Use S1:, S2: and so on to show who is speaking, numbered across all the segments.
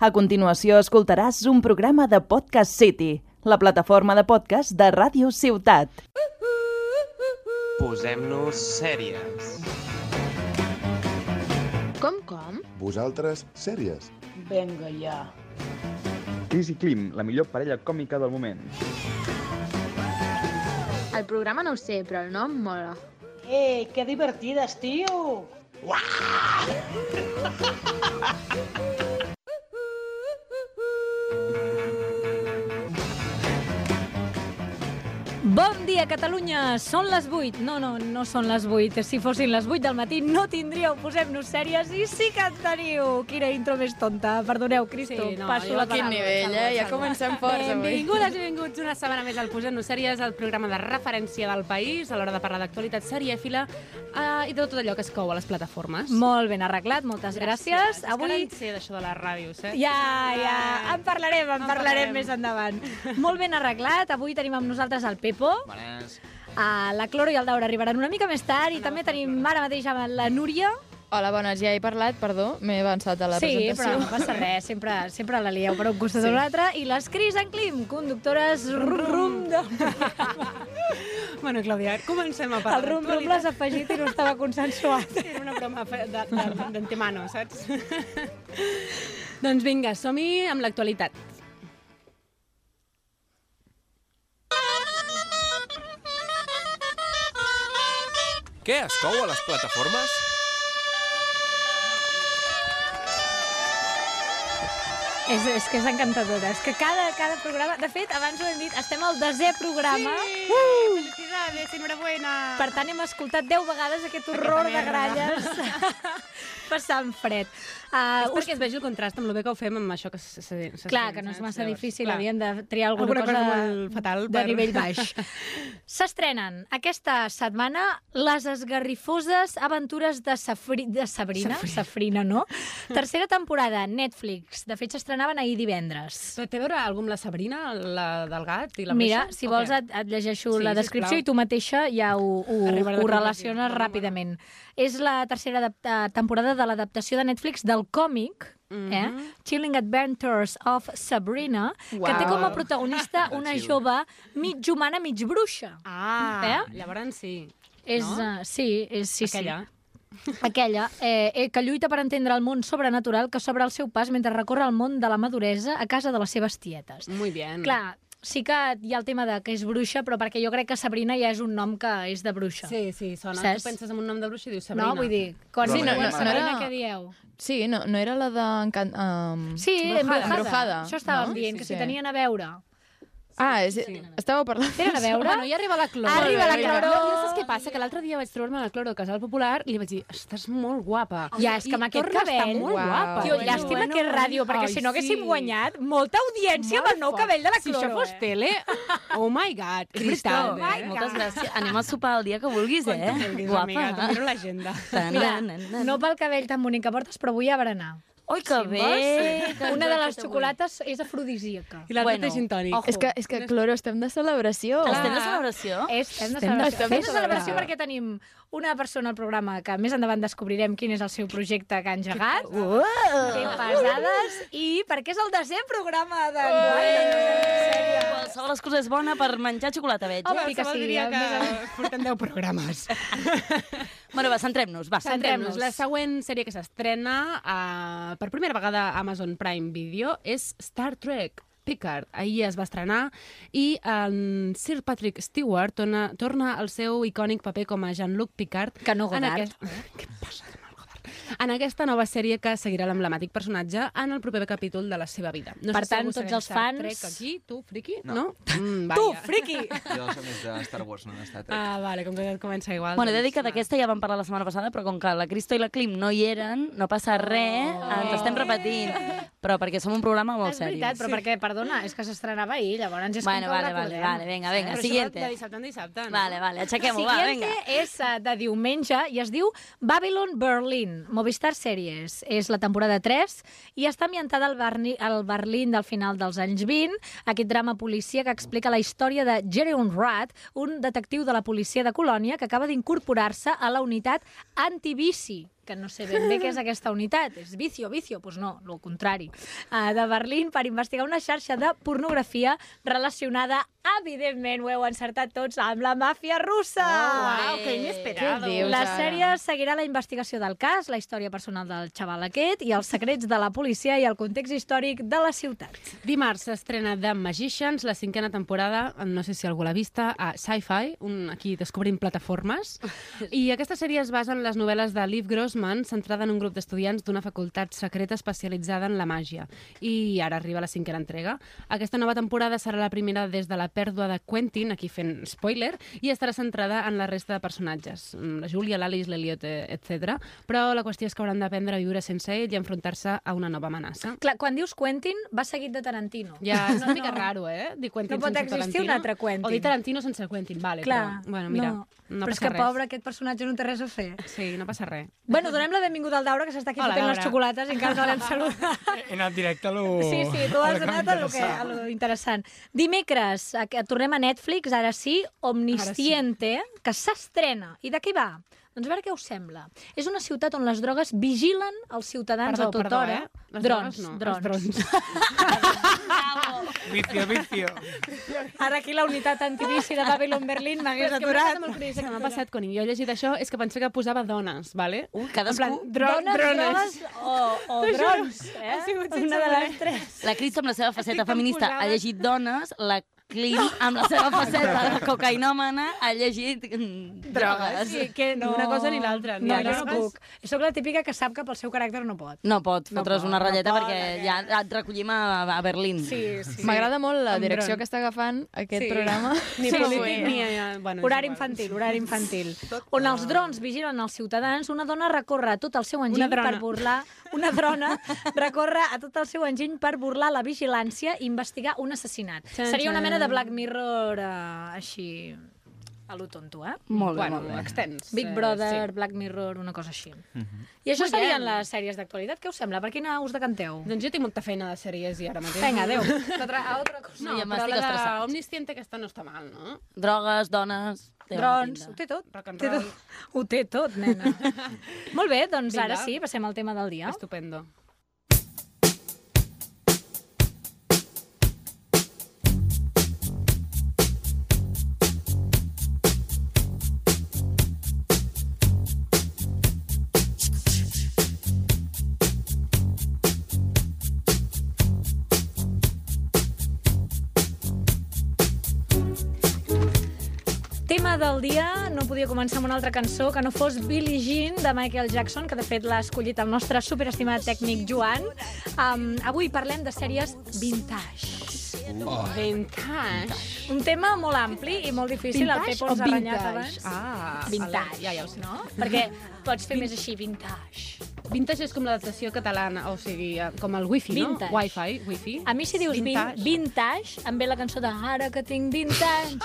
S1: A continuació escoltaràs un programa de Podcast City, la plataforma de podcast de Ràdio Ciutat.
S2: Posem-nos sèries.
S3: Com, com?
S4: Vosaltres, sèries.
S5: Venga ja.
S6: Chris i Klim, la millor parella còmica del moment.
S3: El programa no ho sé, però el nom mola.
S5: Ei, Eh, que divertides, tio!
S7: Bon dia, Catalunya! Són les 8. No, no, no són les 8. Si fossin les 8 del matí no tindríeu Posem-nos sèries i sí que en teniu. Quina intro més tonta. Perdoneu, Cristo.
S8: Sí, no,
S7: passo
S8: jo
S7: la
S8: a quin
S7: paraula.
S8: nivell, eh? Ja comencem forts, avui.
S7: Benvingudes i
S8: Benvinguts una setmana més al Posem-nos sèries, el programa de referència del país, a l'hora de parlar d'actualitat serièfila eh, i de tot allò que es cou a les plataformes.
S7: Molt ben arreglat, moltes gràcies.
S8: Avui...
S7: Avui...
S8: Ara en sé d'això de les ràdios, eh?
S7: Ja, ja, en parlarem, en,
S8: En
S7: parlarem
S8: parlarem.
S7: més endavant. Molt ben arreglat, avui tenim amb nosaltres el Pepo,
S2: Bones.
S7: eh, la Cloro i el Daura arribaran una mica més tard i també tenim ara mateix amb la Núria.
S9: Hola, bones, ja he parlat, perdó, m'he avançat a la
S7: sí, però
S9: presentació.
S7: no passa res, sempre, sempre la lieu per un costat sí. o l'altre. I les Cris en Clim, conductores rum rum del
S8: Bueno, Clàudia, comencem a
S7: el
S8: parlar
S7: rum rum l'has afegit i no estava consensuat.
S8: Era una broma fe- de- de- d'antemano, saps? doncs vinga, som-hi amb l'actualitat.
S2: Què es cou a les plataformes?
S7: és, és que és encantadora, és que cada, cada programa... De fet, abans ho hem dit, estem al desè programa.
S8: Sí! Uh! Felicidades, enhorabuena!
S7: Per tant, hem escoltat 10 vegades aquest horror de gralles passant fred.
S8: És
S7: Uh, us...
S8: perquè es vegi el contrast amb el bé que ho fem amb això que se, se, se
S7: Clar,
S8: sent,
S7: que no és
S8: saps?
S7: massa
S8: Llavors,
S7: difícil,
S8: clar.
S7: havien de triar alguna,
S8: Alguna cosa
S7: cosa
S8: molt fatal
S7: de
S8: per-
S7: nivell baix. S'estrenen aquesta setmana les esgarrifoses aventures de, Safri... de Sabrina. Safrina. Safrina, no? Tercera temporada, Netflix. De fet, s'estrenaven ahir divendres.
S8: Però té a veure alguna amb la Sabrina, la del gat i la
S7: Mira,
S8: bruixa?
S7: si
S8: O
S7: vols
S8: què?
S7: et, et llegeixo
S8: Sí,
S7: la
S8: sisplau.
S7: descripció i tu mateixa ja ho, ho,
S8: Arribarà la
S7: ho
S8: conclusió.
S7: relaciones
S8: Bueno, bueno.
S7: ràpidament. És la tercera adap- eh, temporada de l'adaptació de Netflix del còmic
S8: Mhm.
S7: eh? Chilling Adventures of Sabrina, que té com a protagonista una jove mig humana, mig bruixa.
S8: Ah,
S7: Eh?
S8: eh? llavors sí.
S7: És,
S8: No?
S7: uh, sí, és, sí,
S8: Aquella.
S7: sí. Aquella. Eh, eh, que lluita per entendre el món sobrenatural que s'obre al seu pas mentre recorre el món de la maduresa a casa de les seves tietes.
S8: Muy bien.
S7: Clar, sí que hi ha el tema de que és bruixa, però perquè jo crec que Sabrina ja és un nom que és de bruixa.
S8: Sí, sí, sona.
S7: Saps?
S8: Saps? Tu penses en un nom de bruixa i dius Sabrina.
S7: No, vull dir, quan
S9: Sí, no, no,
S7: diuen
S9: no
S7: Sabrina,
S9: era-
S7: què dieu?
S9: Sí, no, no era la de... encan- Um...
S7: Sí, embrujada.
S9: Embrujada.
S7: Això estàvem
S9: No?
S7: dient,
S9: Sí,
S7: que
S9: sí.
S7: si tenien a veure.
S9: Ah, és... sí. estàveu parlant...
S7: Tenen a veure?
S8: Bueno, ja arriba la Cloro.
S7: Arriba la
S8: Mira,
S7: Cloro.
S8: Jo, jo saps què passa? Que l'altre dia vaig trobar-me la Cloro a Casal Popular i li vaig dir, estàs molt guapa.
S7: Ja, és que amb
S8: I
S7: aquest
S8: torna a estar
S7: cabell-
S8: molt
S9: Uau.
S8: guapa.
S7: Tio,
S9: Bueno,
S7: llàstima que és ràdio, perquè si no haguéssim guanyat molta audiència amb el nou cabell de la
S8: Si
S7: Cloro.
S8: això fos
S7: eh? oh
S8: tele, oh my god, és
S1: Cristo,
S8: veritat. eh?
S1: moltes gràcies. Anem a sopar el dia que vulguis, eh?
S8: Guapa. Amiga, te'n miro l'agenda.
S7: Mira, no pel cabell tan bonic que portes, però avui a berenar.
S1: Oi, que bé!
S9: Doncs
S1: que
S7: Una de
S1: jo
S7: les
S1: que
S7: xocolates és afrodisíaca.
S8: I l'altra bueno, té gin tònic.
S7: ojo.
S9: És que, és que, Cloro, estem de celebració.
S1: vull. Estem de celebració?
S7: És,
S9: Estem
S7: fem de
S9: de-
S7: celebració.
S9: estem de
S7: Fem de celebració
S9: celebració.
S7: perquè tenim una persona al programa que més endavant descobrirem quin és el seu projecte que ha engegat. Té pesades. I perquè és el desè programa de...
S1: Qualsevol excusa és bona per menjar xocolata, veig.
S7: Home,
S1: Eh?
S7: sí que sí,
S8: diria
S7: el
S8: que
S7: més
S8: porten 10 programes.
S1: Bueno, va, centrem-nos, va.
S8: Centrem-nos.
S7: Centrem-nos.
S8: La següent sèrie que s'estrena uh, per primera vegada a Amazon Prime Video és Star Trek. Picard ahir es va estrenar i en Sir Patrick Stewart torna, torna al seu icònic paper com a Jean-Luc Picard.
S7: Que no Godard.
S8: En aquest... Què passa, que no Godard? En aquesta nova sèrie que seguirà l'emblemàtic personatge en el proper capítol de la seva vida. No
S7: Per
S8: sé si
S7: tant,
S8: algú
S7: tots
S8: segueix
S7: els
S8: Star
S7: fans-
S8: Trek aquí, tu, friqui?
S2: No.
S8: Mm,
S7: Tu,
S8: vaja.
S7: friqui!
S2: Jo soc més de Star Wars, no de Star Trek.
S8: Ah, vale, com que tot comença igual.
S1: Bueno, he de
S8: doncs,
S1: dir que
S8: va.
S1: d'aquesta ja vam parlar la setmana passada, però com que la Cristo i la Clim no hi eren, no passa res,
S8: Oh.
S1: ens estem repetint. Però perquè som un programa molt
S7: És
S1: seriós.
S7: veritat, però perquè, perdona, és que s'estrenava ahir, llavors és
S1: Bueno,
S7: com que ho
S1: vale, vale,
S7: recordem.
S1: vale, venga, venga,
S8: Però això
S1: siguiente.
S8: De dissabte en dissabte, no?
S1: Vale, vale, aixequem-ho, va,
S7: siguiente
S1: vinga.
S7: és eh, de diumenge i es diu Babylon Berlin, Movistar Series. És la temporada 3 i està ambientada al, Berni, al Berlín del final dels anys 20, aquest drama policia que explica la història de Jerion Rath, un detectiu de la policia de Colònia que acaba d'incorporar-se a la unitat antivici que no sé ben bé què és aquesta unitat. És vicio, vicio? Doncs pues no, el contrari. Uh, de Berlín per investigar una xarxa de pornografia relacionada, evidentment, ho heu encertat tots, amb la màfia russa.
S8: Oh, Uau, que inesperado.
S9: Què dius?
S7: La
S9: ara?
S7: sèrie seguirà la investigació del cas, la història personal del xaval aquest i els secrets de la policia i el context històric de la ciutat.
S8: Dimarts s'estrena The Magicians, la cinquena temporada, no sé si algú l'ha vista, a Sci-Fi, un- aquí descobrint plataformes. I aquesta sèrie es basa en les novel·les de Liv Grossman, centrada en un grup d'estudiants d'una facultat secreta especialitzada en la màgia. I ara arriba la cinquena entrega. Aquesta nova temporada serà la primera des de la pèrdua de Quentin, aquí fent spoiler, i estarà centrada en la resta de personatges, mm, la Júlia, l'Alice, l'Eliot, etc. Però la qüestió és que hauran d'aprendre a viure sense ell i enfrontar-se a una nova amenaça.
S7: Clar, quan dius Quentin, va seguit de Tarantino.
S8: Ja, és una mica raro, eh? Dir Quentin
S7: No pot
S8: sense
S7: existir
S8: Tarantino.
S7: un altre Quentin.
S8: O dir Tarantino sense Quentin, vale.
S7: Clar,
S8: però, bueno, mira, no,
S7: però és
S8: passa
S7: que,
S8: res.
S7: pobre, aquest personatge no té res a fer.
S8: Sí, no passa res.
S7: Bueno, donem la benvinguda al Daura, que s'està aquí
S8: Hola,
S7: fotent les
S8: Daura.
S7: xocolates i encara no l'hem saludat. Oh.
S10: En el directe lo...
S7: Sí, sí, tu has
S10: lo que
S7: anat a lo, que, a lo interessant. Dimecres, a, que tornem a Netflix, ara sí, Omnisciente, que s'estrena. I de què va? Doncs a veure què us sembla. És una ciutat on les drogues vigilen els ciutadans
S8: Perdó,
S7: a tota
S8: perdó,
S7: hora.
S8: eh? Les
S7: Drons,
S8: drogues no, els
S7: drons.
S10: Vicio, vicio.
S7: Ara aquí la unitat antivici de Babylon Berlin m'hagués
S8: Però és que m'ha passat
S7: aturat.
S8: molt curiosa que m'ha passat quan jo he llegit això és que pensava que posava dones, vale?
S1: Uh, cadascú...
S8: dro-
S7: Dones,
S8: drones.
S7: drones o, o drons, eh?
S8: ha sigut sense
S7: una de
S8: voler.
S7: les tres.
S1: La Cris amb la seva faceta
S8: Estic tan
S1: feminista ha
S8: posada.
S1: llegit dones, la Clim amb la seva faceta de cocainòmana ha llegit mm, drogues.
S7: Sí, que
S8: Ni una cosa ni l'altra, ni
S7: No, jo
S8: drogues.
S7: no puc. Soc la típica que sap que pel seu caràcter no pot.
S1: No pot
S7: No
S1: fotre's
S7: pot,
S1: una
S7: no
S1: ratlleta
S7: pot,
S1: perquè
S7: eh?
S1: ja et recollim a, a Berlín.
S7: Sí, sí.
S9: M'agrada molt la
S7: Amb
S9: direcció
S7: dron.
S9: que està agafant aquest
S7: Sí.
S9: programa.
S8: Ni
S7: Sí,
S8: polític,
S7: sí.
S8: ni... eh, Bueno, és
S7: Horari
S8: igual.
S7: infantil, horari infantil. On els drons vigilen els ciutadans, una dona recorre a tot el seu enginy
S8: Una drona.
S7: per burlar... Una drona recorre a tot el seu enginy per burlar la vigilància i investigar un assassinat.
S8: Xan,
S7: Seria una
S8: xan.
S7: mena de Black Mirror eh, així a lo tonto, eh?
S1: Molt bé,
S8: Bueno,
S1: molt bé.
S8: extens.
S7: Big
S8: eh,
S7: Brother,
S8: sí.
S7: Black Mirror, una cosa així.
S8: Mhm.
S7: I això serien les sèries d'actualitat. Què us sembla? Per quina us decanteu?
S8: Doncs jo tinc molta feina de sèries i ara mateix... Tota,
S7: Vinga, adéu. Otra, a otra cosa.
S8: No,
S1: Ja
S8: però
S1: m'estic
S8: la
S1: estressant.
S8: d'Omnisciente aquesta no està mal, no?
S1: Drogues, dones... té bona
S7: Drons,
S1: pinta.
S7: ho té tot.
S8: Rock and
S7: Té
S8: roll.
S7: tot. Ho té tot, nena. Molt bé, doncs
S8: Vinga.
S7: ara sí, passem al tema del dia.
S8: Estupendo.
S7: Tema del dia, no podia començar amb una altra cançó que no fos Billie Jean de Michael Jackson, que de fet l'ha escollit el nostre superestimat tècnic Joan. Um, avui parlem de sèries vintage.
S8: Vintage.
S7: Un tema molt ampli i molt difícil, el Pepo ens ha renyat abans.
S8: Ah,
S7: vintage,
S8: Ja, ja ho sé.
S7: no? Perquè pots fer més així, vintage.
S8: Vintage és com l'adaptació catalana, o sigui, eh, com el wifi,
S7: Vintage.
S8: no? Wi-Fi, wifi.
S7: A mi si dius vintage,
S8: Vintage.
S7: vintage em ve la cançó de Ara que tinc 20 anys.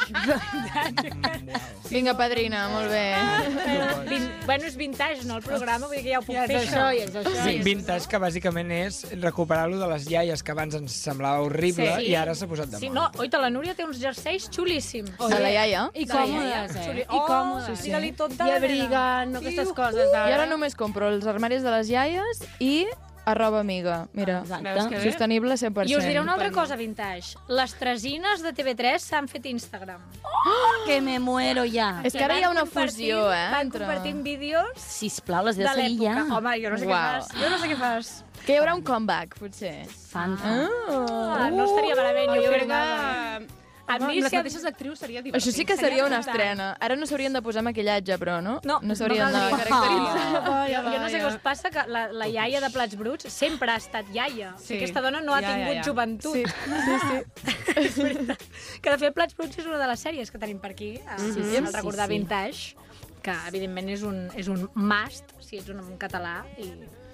S9: Vinga, padrina, molt
S7: Ah,
S9: bé.
S7: Eh, Vin, bueno, és vintage, no, el programa, vull dir que ja ho puc
S8: Ja
S7: fer,
S8: és
S7: això.
S8: això, ja és això.
S10: Sí, vintage, que bàsicament és recuperar-lo de les iaies que abans ens semblava horrible
S7: Sí.
S10: i ara s'ha posat de
S7: Sí,
S10: moda.
S7: no, oita, la Núria té uns jerseis xulíssims.
S9: De la iaia.
S8: I
S7: De la iaia.
S8: còmodes, eh?
S7: Xuli-
S8: I
S7: Oh,
S8: còmodes.
S7: sí, sí. digue-li tot de
S8: I
S7: la
S8: abriguen, no aquestes coses d'ara.
S9: I
S7: Eh?
S9: ara només compro els armaris de les iaies i a roba amiga. Mira,
S8: Veus
S1: Exacte.
S8: que bé?
S9: sostenible 100%.
S7: I us diré una altra cosa vintage. Les tresines de TV3 s'han fet Instagram.
S1: Que me muero ja.
S9: És que ara hi ha una
S7: Compartint-
S9: fusió, eh?
S7: Van
S9: entre-
S7: compartint vídeos
S1: Sisplau, les
S7: de
S1: de seguir
S7: l'època.
S1: ja.
S7: Home, jo no sé què
S9: Uau.
S7: fas. Jo no sé què fas.
S9: Que hi haurà un comeback, potser.
S1: Fan, fan.
S7: Ah, no estaria malament, jo
S8: Jo
S7: crec
S8: crec
S7: que...
S8: que...
S7: A
S8: Amb
S7: mi
S8: les
S7: si em-
S8: mateixes actrius seria divertit.
S9: Això sí que
S7: Seria
S9: seria una
S7: important.
S9: estrena. Ara no s'haurien de posar maquillatge, però, no?
S7: No,
S9: no s'haurien
S7: no
S9: de
S7: caldria.
S9: caracteritzar.
S7: Jo, jo no sé què us passa, que la, la iaia de plats bruts sempre ha estat iaia. Sí.
S8: Sí.
S7: Aquesta dona no ha
S8: Ja, ja,
S7: tingut
S8: ja.
S7: joventut. Sí, sí, sí. que de fet, plats bruts és una de les sèries que tenim per aquí, sí, sí, el recordar sí, vintage, que evidentment és un, és un must si ets un, un català i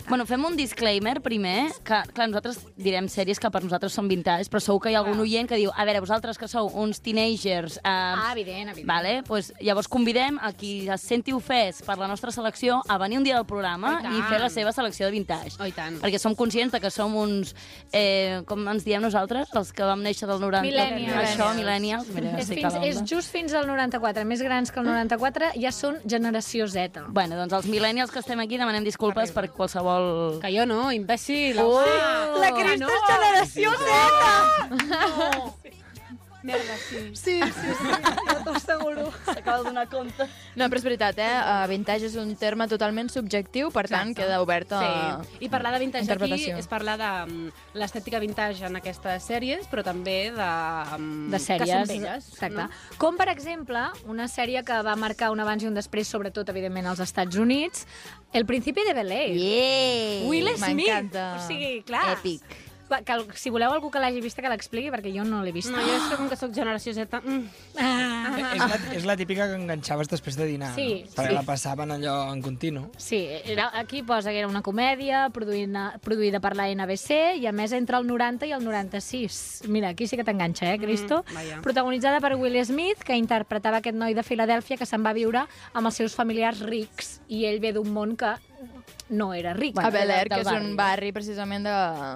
S1: Bueno, fem un disclaimer primer, que clar, nosaltres direm sèries que per nosaltres són vintage, però segur que hi ha algun oient que diu, a veure, vosaltres que sou uns teenagers... Eh,
S7: Ah, evident, evident.
S1: Vale, pues, llavors convidem a qui es senti ofès per la nostra selecció a venir un dia del programa
S8: Oh, i tant.
S1: i fer la seva selecció de vintage.
S8: Oh, i tant.
S1: Perquè som conscients de que som uns, eh, com ens diem nosaltres, els que vam néixer del 90.
S7: Millennials.
S1: Això, millennials. Mira,
S7: És,
S1: estic a
S7: fins,
S1: l'onda.
S7: és just fins al 94. Més grans que el 94 ja són generació Z.
S1: Bueno, doncs els millennials que estem aquí demanem disculpes per qualsevol...
S8: Que jo no, imbècil.
S1: Oh!
S8: La Crista no. és generació Z! No. Merda, sí.
S7: Sí, sí, sí, ja t'ho asseguro.
S1: S'acaba de donar compte.
S9: No, però és veritat, eh? Uh, vintage és un terme totalment subjectiu, per tant, queda oberta...
S8: Sí. I parlar de vintage aquí
S9: Interpretació.
S8: és parlar de mm, l'estètica vintage en aquestes sèries, però també de... mm,
S7: de sèries.
S8: Que són velles.
S7: Exacte.
S8: No?
S7: No? Com, per exemple, una sèrie que va marcar un abans i un després, sobretot, evidentment, als Estats Units, El principi de Bel-Air.
S1: Yeah!
S7: Will Smith.
S9: M'encanta.
S7: O sigui, clar.
S1: Èpic.
S7: Va, Que, el- si voleu algú que l'hagi vista, que l'expliqui, perquè jo no l'he vista.
S8: No, jo és que com que sóc generació Z... Mm.
S7: Ah.
S10: Eh, És la, és la típica que enganxaves després de dinar,
S7: Sí,
S10: no? perquè
S7: sí.
S10: la passaven allò en continu.
S7: Sí, era, aquí posa que era una comèdia produïda, produïda per la NBC i a més entre el 90 i el 96. Mira, aquí sí que t'enganxa, eh, Cristo?
S8: Mm, vaja.
S7: Protagonitzada per Will Smith, que interpretava aquest noi de Filadèlfia que se'n va viure amb els seus familiars rics i ell ve d'un món que no era ric.
S9: A Bel Air,
S1: del
S9: que és un barri precisament de,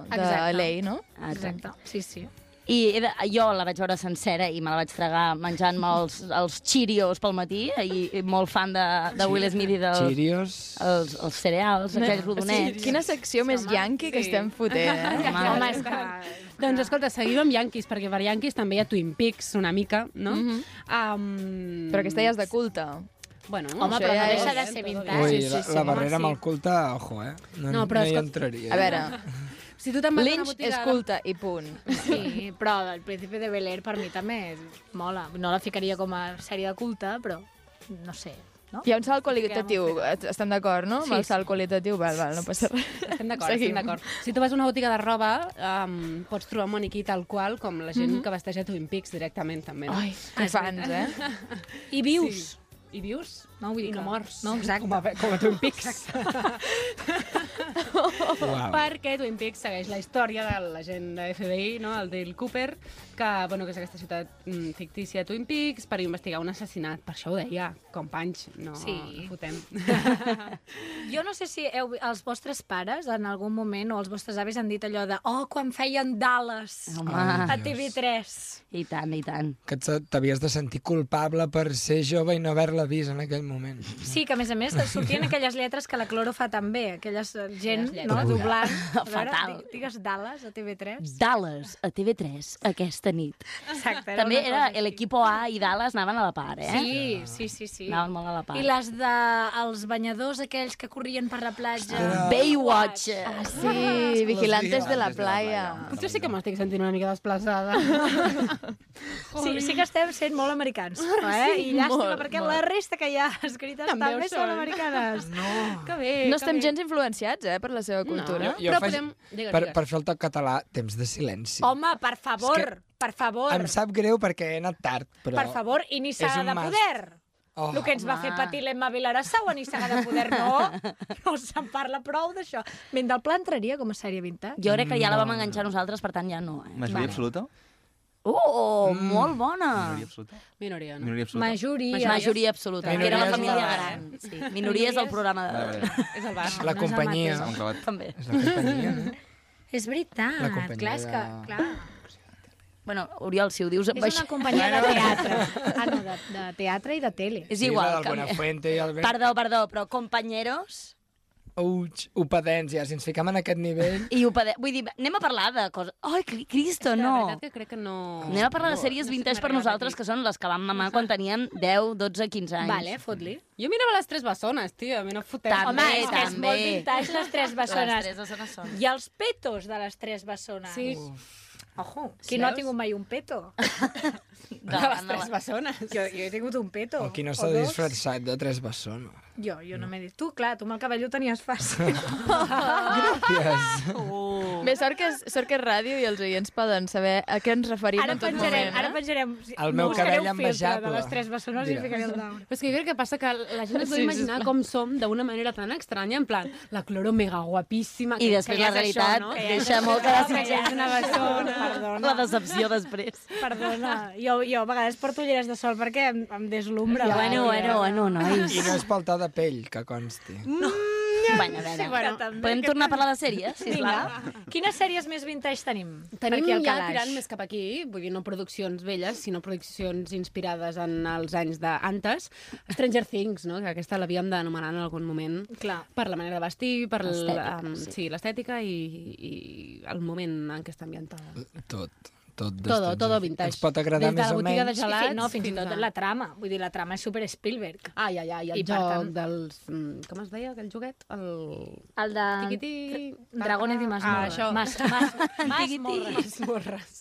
S9: de
S7: Exacte.
S9: LA, no?
S7: Exacte, sí, sí.
S1: I he de, jo la vaig veure sencera i me la vaig tragar menjant-me els, els Cheerios pel matí i, i molt fan de, de Will Smith i dels
S10: Cheerios...
S1: els, els cereals, aquells rodonets.
S9: Quina secció més yankee que estem fotent, eh?
S1: Home,
S7: Home, és que...
S8: Doncs escolta, seguim amb Yankees, perquè per Yankees també hi ha Twin Peaks una mica, no? Mm um...
S9: Però aquesta ja és de culte.
S8: Bueno,
S7: Home,
S9: Això
S7: però
S9: ja
S7: no
S9: és-
S7: deixa de ser vintage.
S10: Ui,
S9: sí,
S10: la,
S9: sí,
S10: la
S9: home,
S10: barrera amb
S8: sí.
S10: el culte, ojo, eh? No,
S8: No,
S10: no
S8: però
S10: hi
S8: escolta-
S10: entraria.
S9: A veure,
S8: Si tu te'n vas a una
S9: Lynch
S8: botiga...
S9: és culte i punt.
S7: Sí, però el Príncipe de Bel-Air per mi també és- mola. No la ficaria com a sèrie de culte, però no sé, no?
S9: Hi ha un salt qualitatiu, estem d'acord, no? Amb
S7: Sí,
S9: el salt qualitatiu, val, val, no passa res.
S8: Estem d'acord,
S9: Seguim.
S8: estem d'acord. Si tu vas a una botiga de roba, um, pots trobar moniquí tal qual com
S7: Mhm.
S8: la gent mm -hmm. que vesteix a Twin Peaks directament, també. No?
S9: Ai, que fans, eh?
S7: I vius.
S8: Sí. I vius?
S7: No, vull dir
S8: I no
S7: que-
S8: mors.
S7: no, exacte.
S8: Com a, com a Twin Peaks.
S10: Uau.
S8: Perquè Twin Peaks segueix la història de la gent de FBI, no? el Dale Cooper, que, bueno, que és aquesta ciutat mm, fictícia de Twin Peaks per investigar un assassinat. Per això ho deia, companys, no
S7: Sí.
S8: fotem.
S7: Jo no sé si heu, els vostres pares en algun moment o els vostres avis han dit allò de oh, quan feien Dallas
S11: Ah,
S1: Home,
S7: a TV3.
S1: i tant, i tant.
S10: Que et- t'havies de sentir culpable per ser jove i no haver-la vist en aquell moment.
S7: Sí, que a més a més sortien aquelles lletres que la Cloro fa també, aquelles eh, gent
S8: Aquelles
S7: no,
S8: lletres.
S7: doblant. A
S1: Fatal.
S7: di- Digues Dallas a TV3.
S1: Dallas a TV3 aquesta nit.
S7: Exacte.
S1: Era També
S7: una cosa
S1: era
S7: així.
S1: l'equipo A i Dallas anaven a la part, eh?
S7: Sí, sí, sí, sí.
S1: Anaven molt a la part.
S7: I les de els banyadors aquells que corrien per la platja.
S10: Hòstia.
S1: Baywatch.
S9: Ah, sí, vigilantes de la playa.
S8: Potser sí que m'estic sentint una mica desplaçada.
S7: Sí, sí que estem sent molt americans, eh? I llàstima,
S9: molt,
S7: perquè
S9: molt.
S7: la resta que hi ha escrites
S8: També
S7: també,
S8: ho
S7: són
S8: són.
S7: americanes.
S10: No.
S8: Que bé,
S9: No
S8: que
S9: estem
S8: bé.
S9: gens influenciats, eh, per la seva cultura.
S10: Jo
S8: Però
S10: faig-
S8: podem- digues,
S10: per,
S8: digues.
S10: per fer el toc català, temps de silenci.
S7: Home, per favor,
S10: És que-
S7: per favor,
S10: Em sap greu perquè he anat tard, però...
S7: per favor, i
S10: és
S7: Nissaga
S10: un
S7: de
S10: must.
S7: Poder.
S10: Oh,
S7: El que ens va
S1: home.
S7: fer patir l'Emma Vilarassau a Nissaga de Poder, no. No se'n parla prou d'això. Ben del pla entraria com a sèrie vintage.
S1: Jo crec que ja la vam enganxar nosaltres, per tant ja no. Eh?
S12: Majoria absoluta?
S1: Oh, molt bona!
S12: Majoria absoluta?
S8: Minoria, no?
S12: Minoria absoluta?
S7: Majoria.
S1: Majoria absoluta.
S10: Minories
S1: Era la família
S10: del bar,
S1: gran. Sí. Minories del programa de...
S12: Vale, vale.
S8: És el bar.
S10: és la
S7: No ens
S10: companyia.
S12: S'ha enclavat.
S1: També.
S10: És la companyia, eh?
S7: És
S10: La
S7: veritat,
S10: companyia
S7: clar, és que...
S10: de-
S7: Clar.
S1: Bueno, Oriol, si ho dius... amb
S7: És
S1: això-
S7: una companyia de teatre. Ah, no, de, de teatre i de tele.
S1: És
S10: Sí,
S1: igual.
S10: la del
S1: canvia.
S10: Buenafuente i el... Ben-
S1: Perdó, perdó, però companyeros
S10: Uig, upadens, ja, si ens ficam en aquest nivell...
S1: i opade... Vull dir, anem a parlar de coses... Ai, Cri- Cristo,
S8: La
S1: Doncs no!
S8: veritat que crec que no...
S1: Anem a parlar de sèries
S8: No sé
S1: vintage
S8: si
S1: per
S8: m'ha arribat
S1: nosaltres,
S8: aquí.
S1: que són les que vam mamar quan teníem 10, 12, 15 anys.
S7: Vale, fot-li.
S8: Jo mirava les tres bessones, tio, a mi no em foteu.
S1: També,
S7: Home, és que és molt
S1: també.
S7: vintage les tres bessones.
S1: Les tres zones són.
S7: I els petos de les tres bessones.
S8: Sí,
S7: Ojo, qui no ha
S8: Veus?
S7: tingut mai un peto?
S8: de les tres bessones.
S7: Jo, jo he tingut un peto.
S10: O qui no
S7: o
S10: s'ha
S7: dos.
S10: disfressat de tres bessones.
S7: Jo, jo no m'he dit. Tu, clar, tu amb el cabello ho tenies fàcil.
S10: Gràcies.
S1: Uh.
S9: Bé, sort que, és, sort que és ràdio i els oients poden saber a què ens referim
S7: Ara
S9: en tot
S7: penjarem,
S9: moment. eh?
S7: ara penjarem...
S10: El meu
S7: buscaré
S10: cabell
S7: un filtre
S10: envejable.
S7: De les tres bessones i
S10: Mira.
S7: ficaré el daure.
S8: Però és que jo crec que passa que la gent
S7: Sí,
S8: es
S7: sí,
S8: vol imaginar com som d'una manera tan estranya, en plan, la cloro mega guapíssima...
S1: I després la
S8: ja és
S1: realitat
S8: Això, no?
S1: que ja deixa molt que desitjar.
S7: Una bessona, perdona.
S1: La decepció després.
S7: Perdona, jo, jo a vegades porto ulleres de sol perquè em, em deslumbra.
S1: Però bueno, bueno, bueno, nois.
S10: I no és pel to de pell, que consti.
S1: Bueno, a veure.
S7: bueno, també,
S1: Podem
S7: que
S1: tornar a parlar de sèries, sisplau?
S7: Vinga. Quines sèries més vintage tenim?
S8: Tenim
S7: per aquí al
S8: ja
S7: calaix?
S8: tirant més cap aquí, vull dir, no produccions velles, sinó produccions inspirades en els anys d'antes. Stranger Things, no? que aquesta l'havíem d'anomenar en algun moment.
S7: Clar.
S8: Per la manera de vestir, per
S1: L'estètica,
S8: l'estètica um,
S1: sí.
S8: sí. l'estètica i, i el moment en què està ambientada.
S10: Tot. Tot, de
S8: Todo,
S10: Stranger
S8: todo
S10: Things.
S8: vintage.
S10: Ens pot agradar
S8: Des de la
S10: més o
S8: botiga de
S10: menys.
S7: Sí,
S8: Gelats
S7: fi- no, fins i
S8: fins
S7: tot
S8: a-
S7: la trama. Vull dir, la trama és super Spielberg.
S8: Ai, ai, ai, el
S7: I
S8: I
S7: per
S8: joc
S7: tant-
S8: dels... mm, Com es deia aquell joguet? El...
S7: El de...
S8: Tiquití...
S7: Dragones i
S8: Ah,
S7: masmorres.
S8: això.
S7: Mas, mas, masmorres.
S8: Masmorres.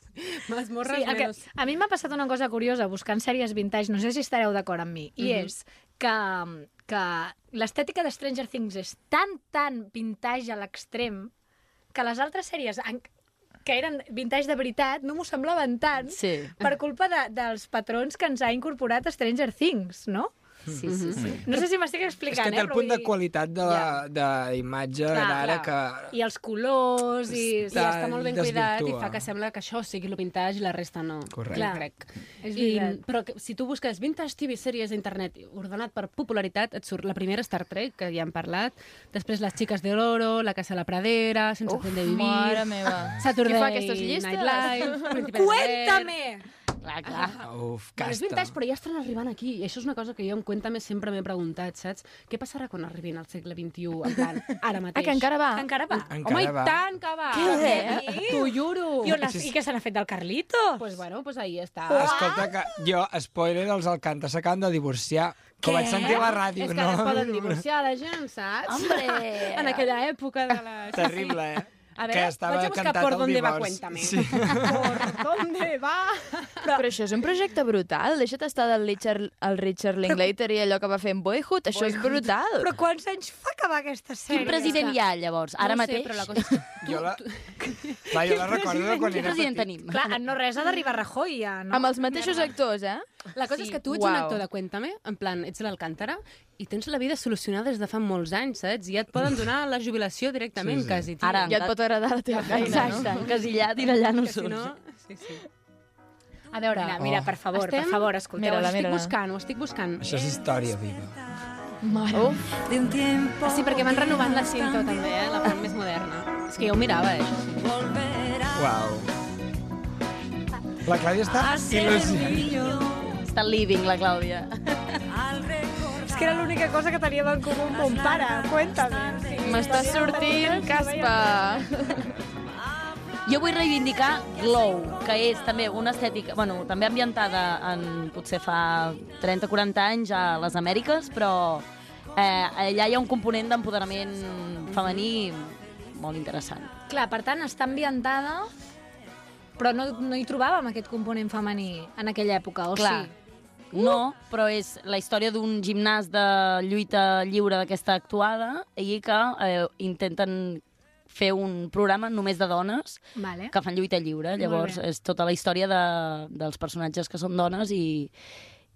S8: Masmorres
S7: Sí,
S8: sí,
S7: el que,
S8: menos...
S7: a mi m'ha passat una cosa curiosa buscant sèries vintage, no sé si estareu d'acord amb mi, i és que, que l'estètica de Stranger Things és tan, tan vintage a l'extrem que les altres sèries en, que eren vintage de veritat no m'ho semblaven tant
S1: Sí.
S7: per culpa de, dels patrons que ens ha incorporat Stranger Things, no?
S1: Sí, sí, sí.
S7: No sé si
S10: És
S7: m'estic
S10: que
S7: explicant,
S10: té
S7: eh?
S10: el punt de qualitat de, la, de imatge d'ara que...
S7: I els colors, i...
S8: I està
S10: Tan
S8: molt ben cuidat i
S10: desvirtua.
S8: fa que sembla que això sigui el vintage i la resta no.
S10: Correcte.
S8: Clar.
S7: Clar.
S8: Crec.
S7: És
S8: I,
S7: veritat.
S8: però que, si tu busques vintage TV sèries a internet ordenat per popularitat, et surt la primera Star Trek, que ja hem parlat, després Les xiques de l'oro, La casa a la pradera, Sense Uf, de vivir...
S9: Mare meva. Qui
S8: Saturday
S9: fa aquestes llistes?
S8: Night Live, Príncipe de Bel-Air.
S7: Cuéntame!
S1: Clar, clar.
S10: Uf,
S8: Bueno, és
S10: casta.
S8: vintage, però ja estan arribant aquí. I això és una cosa que jo en Cuéntame sempre m'he preguntat, saps? Què passarà quan arribin al segle XXI, en plan, ara mateix?
S9: Ah, que encara va.
S7: Encara va. Ah, eh?
S10: Encara
S8: Home, i
S10: va.
S8: tant que va! eh?
S7: Què?
S8: T'ho juro!
S7: I, on, I què se n'ha fet del Carlitos?
S8: Pues bueno, pues ahí està.
S10: Escolta, que jo, spoiler, els Alcanta s'acaben de divorciar. Que ho vaig sentir a la ràdio,
S8: És que
S10: no?
S8: es poden divorciar la gent, saps?
S1: Hombre!
S8: En aquella època de la...
S10: Terrible, eh?
S8: A veure,
S10: que estava
S8: vaig a buscar
S10: cantat
S8: por
S10: el
S8: dónde va,
S10: divorci.
S8: cuéntame.
S10: Sí.
S8: Por dónde va?
S9: Però... però això és un projecte brutal. Deixa't estar del Richard, el Richard Linklater i allò que va fer en Boyhood. Això és brutal.
S7: Però quants anys fa que va aquesta sèrie?
S1: Quin president hi ha, llavors? Ara
S8: no ho sé,
S1: mateix?
S8: però la cosa és que...
S10: Jo la... Va, jo la recordo de quan
S1: Quin
S10: era
S1: president
S10: petit.
S1: tenim?
S7: Clar, en no res ha d'arribar Rajoy, ja, no?
S9: Amb els mateixos actors, eh?
S8: La cosa sí. és que tu ets un
S9: Uau.
S8: actor de Cuéntame, en plan, ets l'Alcántara, i tens la vida solucionada des de fa molts anys, saps? I ja et poden donar la jubilació
S10: Sí,
S8: directament,
S10: sí.
S8: quasi. Tio.
S1: Ara.
S9: Ja et pot agradar la teva feina,
S1: Exacte, encasillat i allà no
S8: que si
S1: surts.
S8: no... Sí, sí. A veure,
S7: Mira, mira,
S10: Oh.
S7: per favor,
S8: Estem-
S7: per favor, escolteu.
S9: Mira-la,
S8: ho estic
S9: mira-la.
S8: buscant, ho estic buscant.
S10: Això és història viva.
S9: no? Uf.
S8: Sí, perquè van renovant la cinta també, eh? la part més moderna. És que jo ho mirava, eh? això sí.
S10: Uau. La Clàudia està il·lusionada.
S1: Està living, la Clàudia.
S7: És que era l'única cosa que teníem en comú amb mon pare. Cuéntame. Sí,
S9: M'està sortint caspa.
S1: Jo vull reivindicar Glow, que és també una estètica, bueno, també ambientada en potser fa 30-40 anys a les Amèriques, però eh, allà hi ha un component d'empoderament femení molt interessant.
S7: Clar, per tant, està ambientada, però no, no hi trobàvem aquest component femení en aquella època, o
S1: Clar.
S7: sí?
S1: No, però és la història d'un gimnàs de lluita lliure d'aquesta actuada i que eh, intenten fer un programa només de dones
S7: Vale.
S1: que fan lluita lliure. Llavors,
S7: bé.
S1: és tota la història de, dels personatges que són dones i,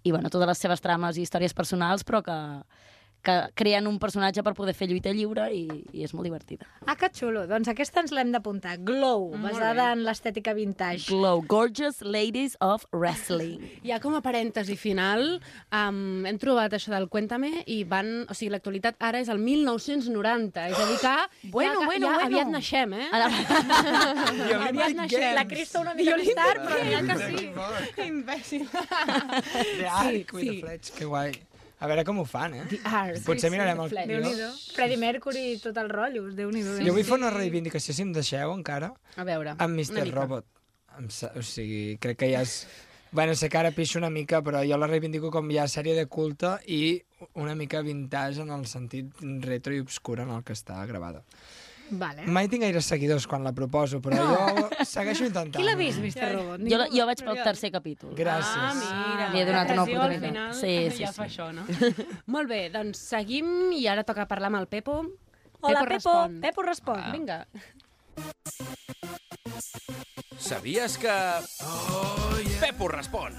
S1: i bueno, totes les seves trames i històries personals, però que, que creen un personatge per poder fer lluita lliure i, i és molt divertida.
S7: Ah, que xulo. Doncs aquesta ens l'hem d'apuntar. Glow, basada en l'estètica vintage.
S1: Glow, Gorgeous Ladies of Wrestling.
S8: Ja com a parèntesi final, um, hem trobat això del Cuéntame i van... O sigui, l'actualitat ara és el 1990, és a dir que...
S1: Bueno,
S8: ja,
S1: bueno,
S8: ja
S1: bueno.
S8: aviat naixem, eh?
S1: Ara,
S8: aviat naixem.
S7: La Crista una mica més tard, però ja que sí.
S8: Imbècil.
S10: The Arc
S8: Sí,
S10: with
S8: sí.
S10: the Fletch, que guai. A veure com ho fan, eh?
S8: Ars.
S10: Potser mirarem el
S8: Fletch.
S10: vídeo.
S7: Déu-n'hi-do. Freddie Mercury i tot el rotllo. Déu-n'hi-do.
S10: Jo
S7: Déu-n'hi-do.
S10: vull fer una reivindicació, si em deixeu, encara,
S8: A veure.
S10: amb
S8: una
S10: Mr.
S8: mica.
S10: Robot. Em sa- O sigui, crec que ja és... Bueno, sé que ara pixo una mica, però jo la reivindico com ja sèrie de culte i una mica vintage en el sentit retro i obscur en el que està gravada.
S7: Vale.
S10: Mai tinc gaires seguidors quan la proposo, però jo segueixo intentant.
S7: Qui l'ha vist, Mr. Robot?
S1: jo, jo vaig pel tercer capítol.
S8: Ah,
S10: Gràcies.
S8: mira.
S1: Li he donat una
S8: Pressió, al
S1: oportunitat.
S8: Final,
S1: Sí, sí, sí.
S8: ja fa això, no? Molt bé, doncs seguim i ara toca parlar amb el Pepo.
S7: Hola, Pepo.
S8: respon.
S7: Ah. Pepo respon.
S8: Vinga.
S2: Sabies que... Oh, yeah. Pepo respon.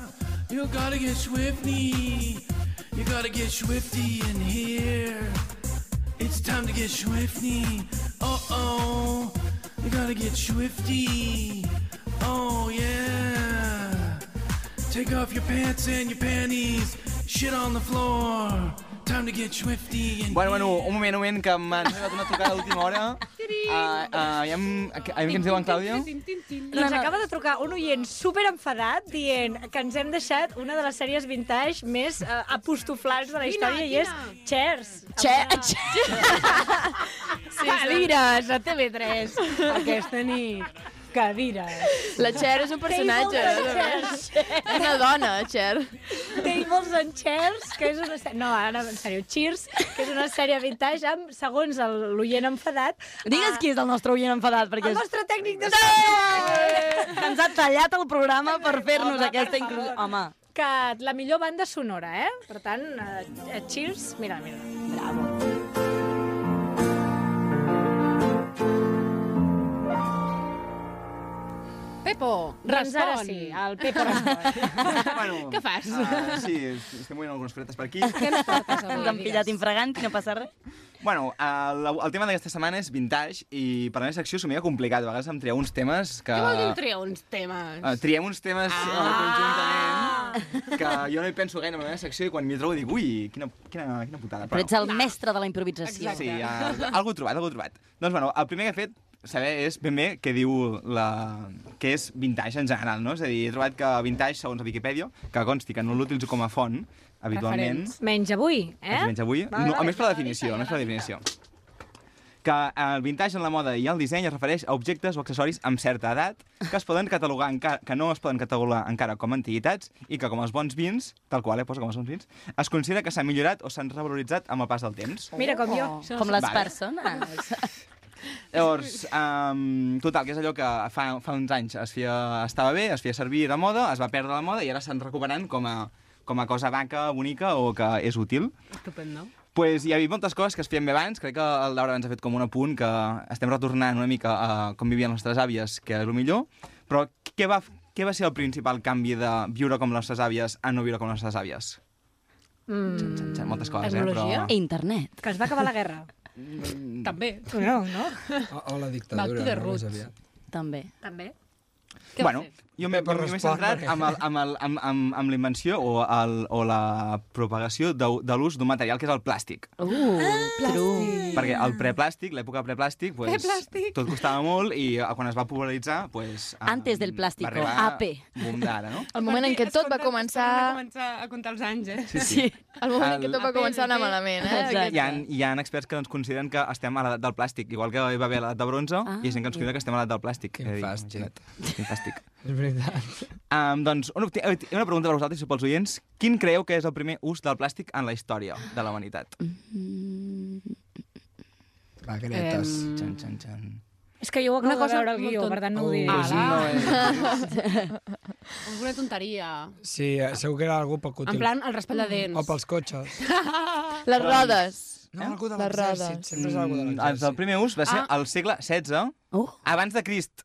S12: You gotta get swifty. You gotta get swifty in here. It's time to get swifty. Uh oh. You gotta get swifty. Oh yeah. Take off your pants and your panties. Shit on the floor. Time to get swifty in
S11: Bueno, bueno, un moment, un moment, que m'han arribat una trucada a última hora. Ah, ah, aviam, a què ens diuen, Clàudia?
S7: Doncs acaba de trucar un oient super enfadat dient que ens hem deixat una de les sèries vintage més eh, apostoflants de la història i és Cheers.
S1: Cheers.
S8: Cadires a TV3 aquesta nit. Cadires.
S9: La Cher és un personatge. És una dona, Cher.
S7: Tables and Chairs, que és una sèrie... No, ara, en sèrio, Cheers, que és una sèrie vintage amb, segons el- l'oient enfadat,
S1: Digues qui és el nostre oient enfadat, perquè
S7: el
S1: és...
S7: nostre tècnic de
S1: Que ens ha tallat el programa per fer-nos aquesta inclusió. Home,
S7: que la millor banda sonora, eh? Per tant, eh, Cheers, mira, mira.
S8: Pepo,
S7: Doncs
S8: respon.
S7: ara sí,
S8: Ah,
S7: el Pepo respon.
S11: Bueno,
S8: Què fas?
S11: ah, sí, estem veient algunes cosetes per aquí.
S8: Què ens portes avui?
S1: ens han pillat infragant i no passa res.
S11: Bueno, el, el tema d'aquesta setmana és vintage i per la meva secció s'ho mica complicat. A vegades em trieu uns temes que...
S8: Què vol dir triar uns temes?
S11: Eh, triem uns temes ah. conjuntament que jo no hi penso gaire en la meva secció i quan m'hi trobo dic, ui, quina, quina, quina putada.
S1: Però ets el mestre de la improvisació.
S11: Sí, uh, algú trobat, algú trobat. Doncs, bueno, el primer que he fet saber és ben bé què diu la... què és vintage en general, no? És a dir, he trobat que vintage, segons la Viquipèdia, que consti que no l'utilitzo com a font, habitualment,
S8: Referents.
S7: Menys avui, eh?
S11: almenys avui, no, a més per la definició, a més per la definició que el vintage en la moda i el disseny es refereix a objectes o accessoris amb certa edat que es poden catalogar encara, que no es poden catalogar encara com a antiguitats i que com els bons vins, tal qual, eh, posa com els bons vins, es considera que s'han millorat o s'han revaloritzat amb el pas del temps.
S7: Mira com jo.
S1: Com les
S11: Vale.
S8: Ah,
S1: persones.
S11: Llavors, um, total, que és allò que fa, fa uns anys es feia, estava bé, es feia servir de moda, es va perdre la moda i ara estan recuperant com a, com a cosa vaca, bonica o que és útil.
S8: Estupendo.
S11: pues, hi ha hagut moltes coses que es feien bé abans. Crec que el Laura ens ha fet com un apunt que estem retornant una mica a com vivien les nostres àvies, que era el millor. Però què va, què va ser el principal canvi de viure com les nostres àvies a no viure com les nostres àvies? Mm. Moltes coses,
S7: tecnologia?
S11: eh?
S1: Internet.
S7: Que es va acabar la guerra.
S10: Mm.
S8: També.
S7: No, no?
S10: O, o Oh, la
S8: Back to
S10: dictadura,
S8: the
S10: no més
S8: roots.
S10: aviat.
S1: També.
S7: També.
S11: Però... Bueno, jo m'he
S10: Bé, per
S11: jo m'he
S10: respondre.
S11: centrat amb, el, amb, el, amb, amb, amb la invenció o, el, o la propagació de, de l'ús d'un material que és el plàstic.
S1: Uh,
S8: Ah,
S1: true.
S11: Perquè el preplàstic, l'època preplàstic, pues,
S8: Preplàstic.
S11: tot costava molt i eh, quan es va popularitzar... Pues,
S1: Antes del plástico, AP.
S11: Boom d'ara, no?
S9: El moment en què tot va començar...
S8: Va començar a comptar els anys, eh?
S11: Sí, sí.
S9: El moment en què tot va
S8: El-
S9: començar a anar malament, eh?
S1: Exacte.
S9: Aquest-
S11: Hi ha, hi ha experts que ens consideren que estem a l'edat del plàstic, igual que hi va haver l'edat de bronze, ah, hi ha gent que ens considera que estem a l'edat del plàstic.
S10: Quin
S11: Eh,
S10: fàstic.
S11: imagina't. Quin fàstic.
S10: És veritat.
S11: Um, doncs, una, opti- eh, tinc una pregunta per vosaltres i pels oients. Quin creieu que és el primer ús del plàstic en la història de la humanitat?
S10: Va, gretes.
S11: Mm. Xan, xan, xan.
S7: És que jo ho acabo
S8: Una cosa
S7: de veure el
S8: molt
S7: guió,
S8: tonta.
S7: per tant no ho diré.
S8: Ah,
S7: Ah,
S8: la-
S11: No, eh?
S8: Alguna tonteria.
S10: Sí, eh, segur que era algú poc útil.
S8: En plan, el raspalladents.
S10: O pels cotxes.
S9: Les rodes.
S10: No, algú de
S9: Les
S10: l'exèrcit.
S9: rodes.
S10: Sempre és algú de
S11: Mm,
S10: l'exèrcit.
S11: el primer ús va ser al segle XVI,
S1: Uh.
S11: abans de Crist.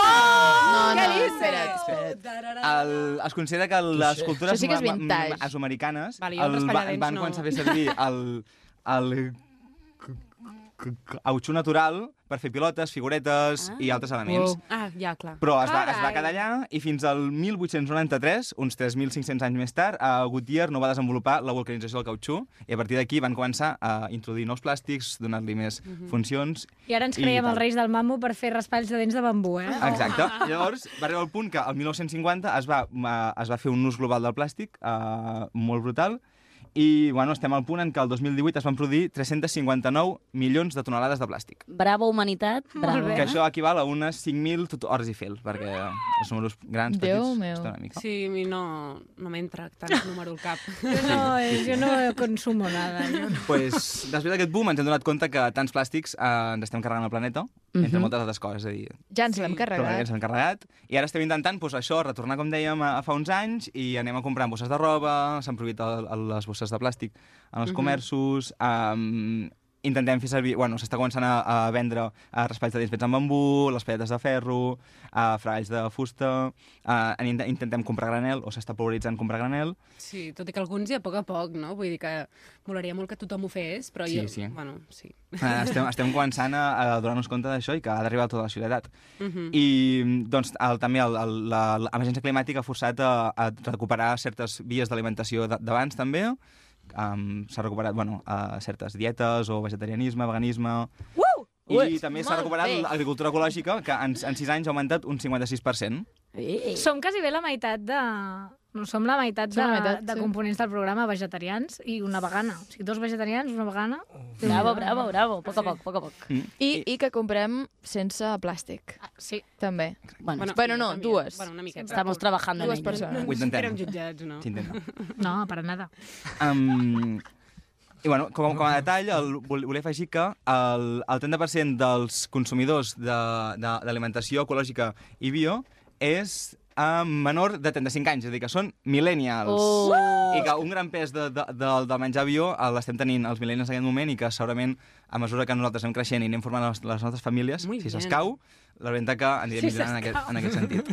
S9: No, no, espera't, espera't.
S11: El, es considera que les cultures
S9: Això sí que és
S11: ma- ma-
S9: vintage.
S11: ma- asoamericanes
S8: Vale, i altres
S11: el, va-
S8: palladens
S11: van
S8: no.
S11: començar a fer servir el, el c- c- c- cautxú natural per fer pilotes, figuretes i altres elements.
S8: Oh. Ah, ja, clar.
S11: Però es va, es va quedar
S8: Carai.
S11: allà i fins al 1893, uns 3.500 anys més tard, a Goodyear no va desenvolupar la vulcanització del cautxú i a partir d'aquí van començar a introduir nous plàstics, donar-li més funcions
S7: I ara ens
S11: I Ah,
S7: creiem
S11: tal.
S7: els reis del mamo per fer raspalls de dents de bambú, eh?
S11: Exacte. Llavors, va arribar el punt que el 1950 es va, eh, es va fer un ús global del plàstic eh, molt brutal i bueno, estem al punt en què el 2018 es van produir 359 milions de tonelades de plàstic.
S1: Bravo, humanitat. Bravo.
S11: Que això equival a unes 5.000 tot- hores i fil, perquè els números grans,
S9: Déu
S11: petits,
S9: meu.
S11: costa una mica.
S8: Sí, a mi no, no m'entra tant el número al cap.
S7: Jo no, jo no consumo nada. Jo.
S11: Pues, després d'aquest boom ens hem donat compte que tants plàstics eh, ens estem carregant el planeta, mm -hmm. entre moltes altres coses, és a dir,
S9: Ja ens l'hem
S11: Però
S9: carregat.
S11: ens han carregat. I ara estem intentant pues, això, retornar, com dèiem, a, a fa uns anys i anem a comprar bosses de roba, s'han prohibit el, el, les bosses de plàstic en els comerços, um, intentem fer servir... Bueno, s'està començant a, a vendre a raspalls de dents fets amb bambú, les palletes de ferro, a fralls de fusta... A, en, inte- intentem comprar granel, o s'està polaritzant comprar granel.
S8: Sí, tot i que alguns hi ha a poc a poc, no? Vull dir que molaria molt que tothom ho fes, però
S11: Sí,
S8: jo...
S11: sí.
S8: Bueno, sí.
S11: Eh, estem, estem començant a, a donar-nos compte d'això i que ha d'arribar a tota la ciutat.
S8: Mhm.
S11: I doncs, el, també el- el- la- l'emergència climàtica ha forçat a, a recuperar certes vies d'alimentació d- d'abans, també. Um, s'ha recuperat bueno, a certes dietes o vegetarianisme, veganisme... I
S7: Ué,
S11: també s'ha
S7: molt
S11: recuperat
S7: bé.
S11: l'agricultura ecològica, que en, en 6 anys ha augmentat un 56%.
S7: Som quasi bé la meitat de... No, som la meitat,
S9: Som
S7: de,
S9: la meitat,
S7: de
S9: sí.
S7: components del programa vegetarians i una vegana. O sigui, dos vegetarians, una vegana...
S9: Bravo,
S1: bravo, bravo. Poc a poc, poc a poc.
S9: I, I que comprem sense plàstic.
S7: Sí.
S9: També.
S1: Bueno,
S9: Bueno, bueno no, dues.
S8: Bueno, una miqueta.
S1: Estamos trabajando en
S9: Dues
S1: ello.
S9: persones.
S11: Ho intentem.
S8: Érem jutjats, no?
S11: S'intenta.
S7: No, per nada.
S11: Um, I, bueno, com, com a detall, el, vol- volia afegir que el, el 30% dels consumidors de- de- d'alimentació ecològica i bio és a menor de 35 anys, és a dir, que són millennials.
S13: Oh.
S11: I que un gran pes de, de, de, del menjar bio eh, l'estem tenint els millennials en aquest moment i que segurament, a mesura que nosaltres anem creixent i anem formant les, les nostres famílies, si
S9: bien.
S11: s'escau, la veritat que anirem
S9: Si
S11: millorant en aquest, en aquest sentit.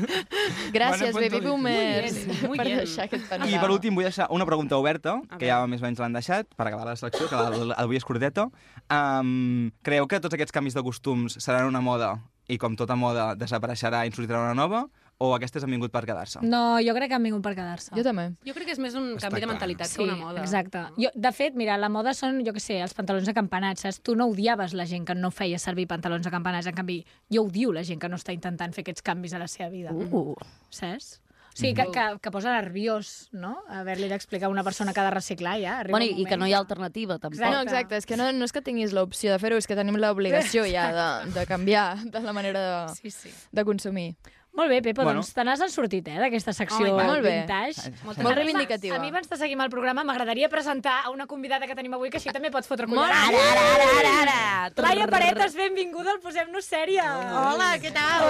S9: Gràcies,
S11: Bona
S9: baby
S11: puntualització.
S9: boomers,
S11: Muy bien, muy
S9: per
S11: bien.
S9: deixar aquest
S11: I per
S9: panorama.
S11: últim vull deixar una pregunta oberta, que ja més o menys l'han deixat, per acabar la selecció, que la- la- avui és curteta. Um, creieu que tots aquests canvis de costums seran una moda i com tota moda desapareixerà i en sortirà una nova? O aquestes han vingut per quedar-se?
S7: No, jo crec que han vingut per quedar-se. Jo
S9: també.
S8: Jo crec que és més un canvi de
S11: clar.
S8: mentalitat
S7: Sí,
S8: que una moda.
S7: exacte. Jo, de fet, mira, la moda són, jo què sé, els pantalons acampanats, saps? Tu no odiaves la gent que no feia servir pantalons acampanats, en canvi, jo odio la gent que no està intentant fer aquests canvis a la seva vida.
S1: Uh. Mm.
S7: Saps? O sigui, que, que, que posa nerviós, no?, haver-li d'explicar a una persona que ha de reciclar, ja. Arriba
S1: Bueno,
S7: un
S1: i- i que
S7: moment
S1: no hi ha alternativa, tampoc.
S9: No, exacte, és que no, no és que tinguis l'opció de fer-ho, és que tenim l'obligació ja de, de canviar de la manera de,
S7: sí, sí.
S9: de consumir.
S7: Molt bé, Pepa,
S9: Bueno.
S7: bueno. doncs te n'has sortit, eh, d'aquesta secció
S9: Home, i tant. Molt
S7: molt
S9: bé.
S7: vintage.
S9: Molt Moltes reivindicativa.
S7: A mi abans de seguir amb el programa m'agradaria presentar a una convidada que tenim avui, que així també pots fotre collada.
S1: Ara, ara, ara, ara, ara.
S7: Laia Paretes, benvinguda al Posem-nos Sèria.
S1: Hola, què tal?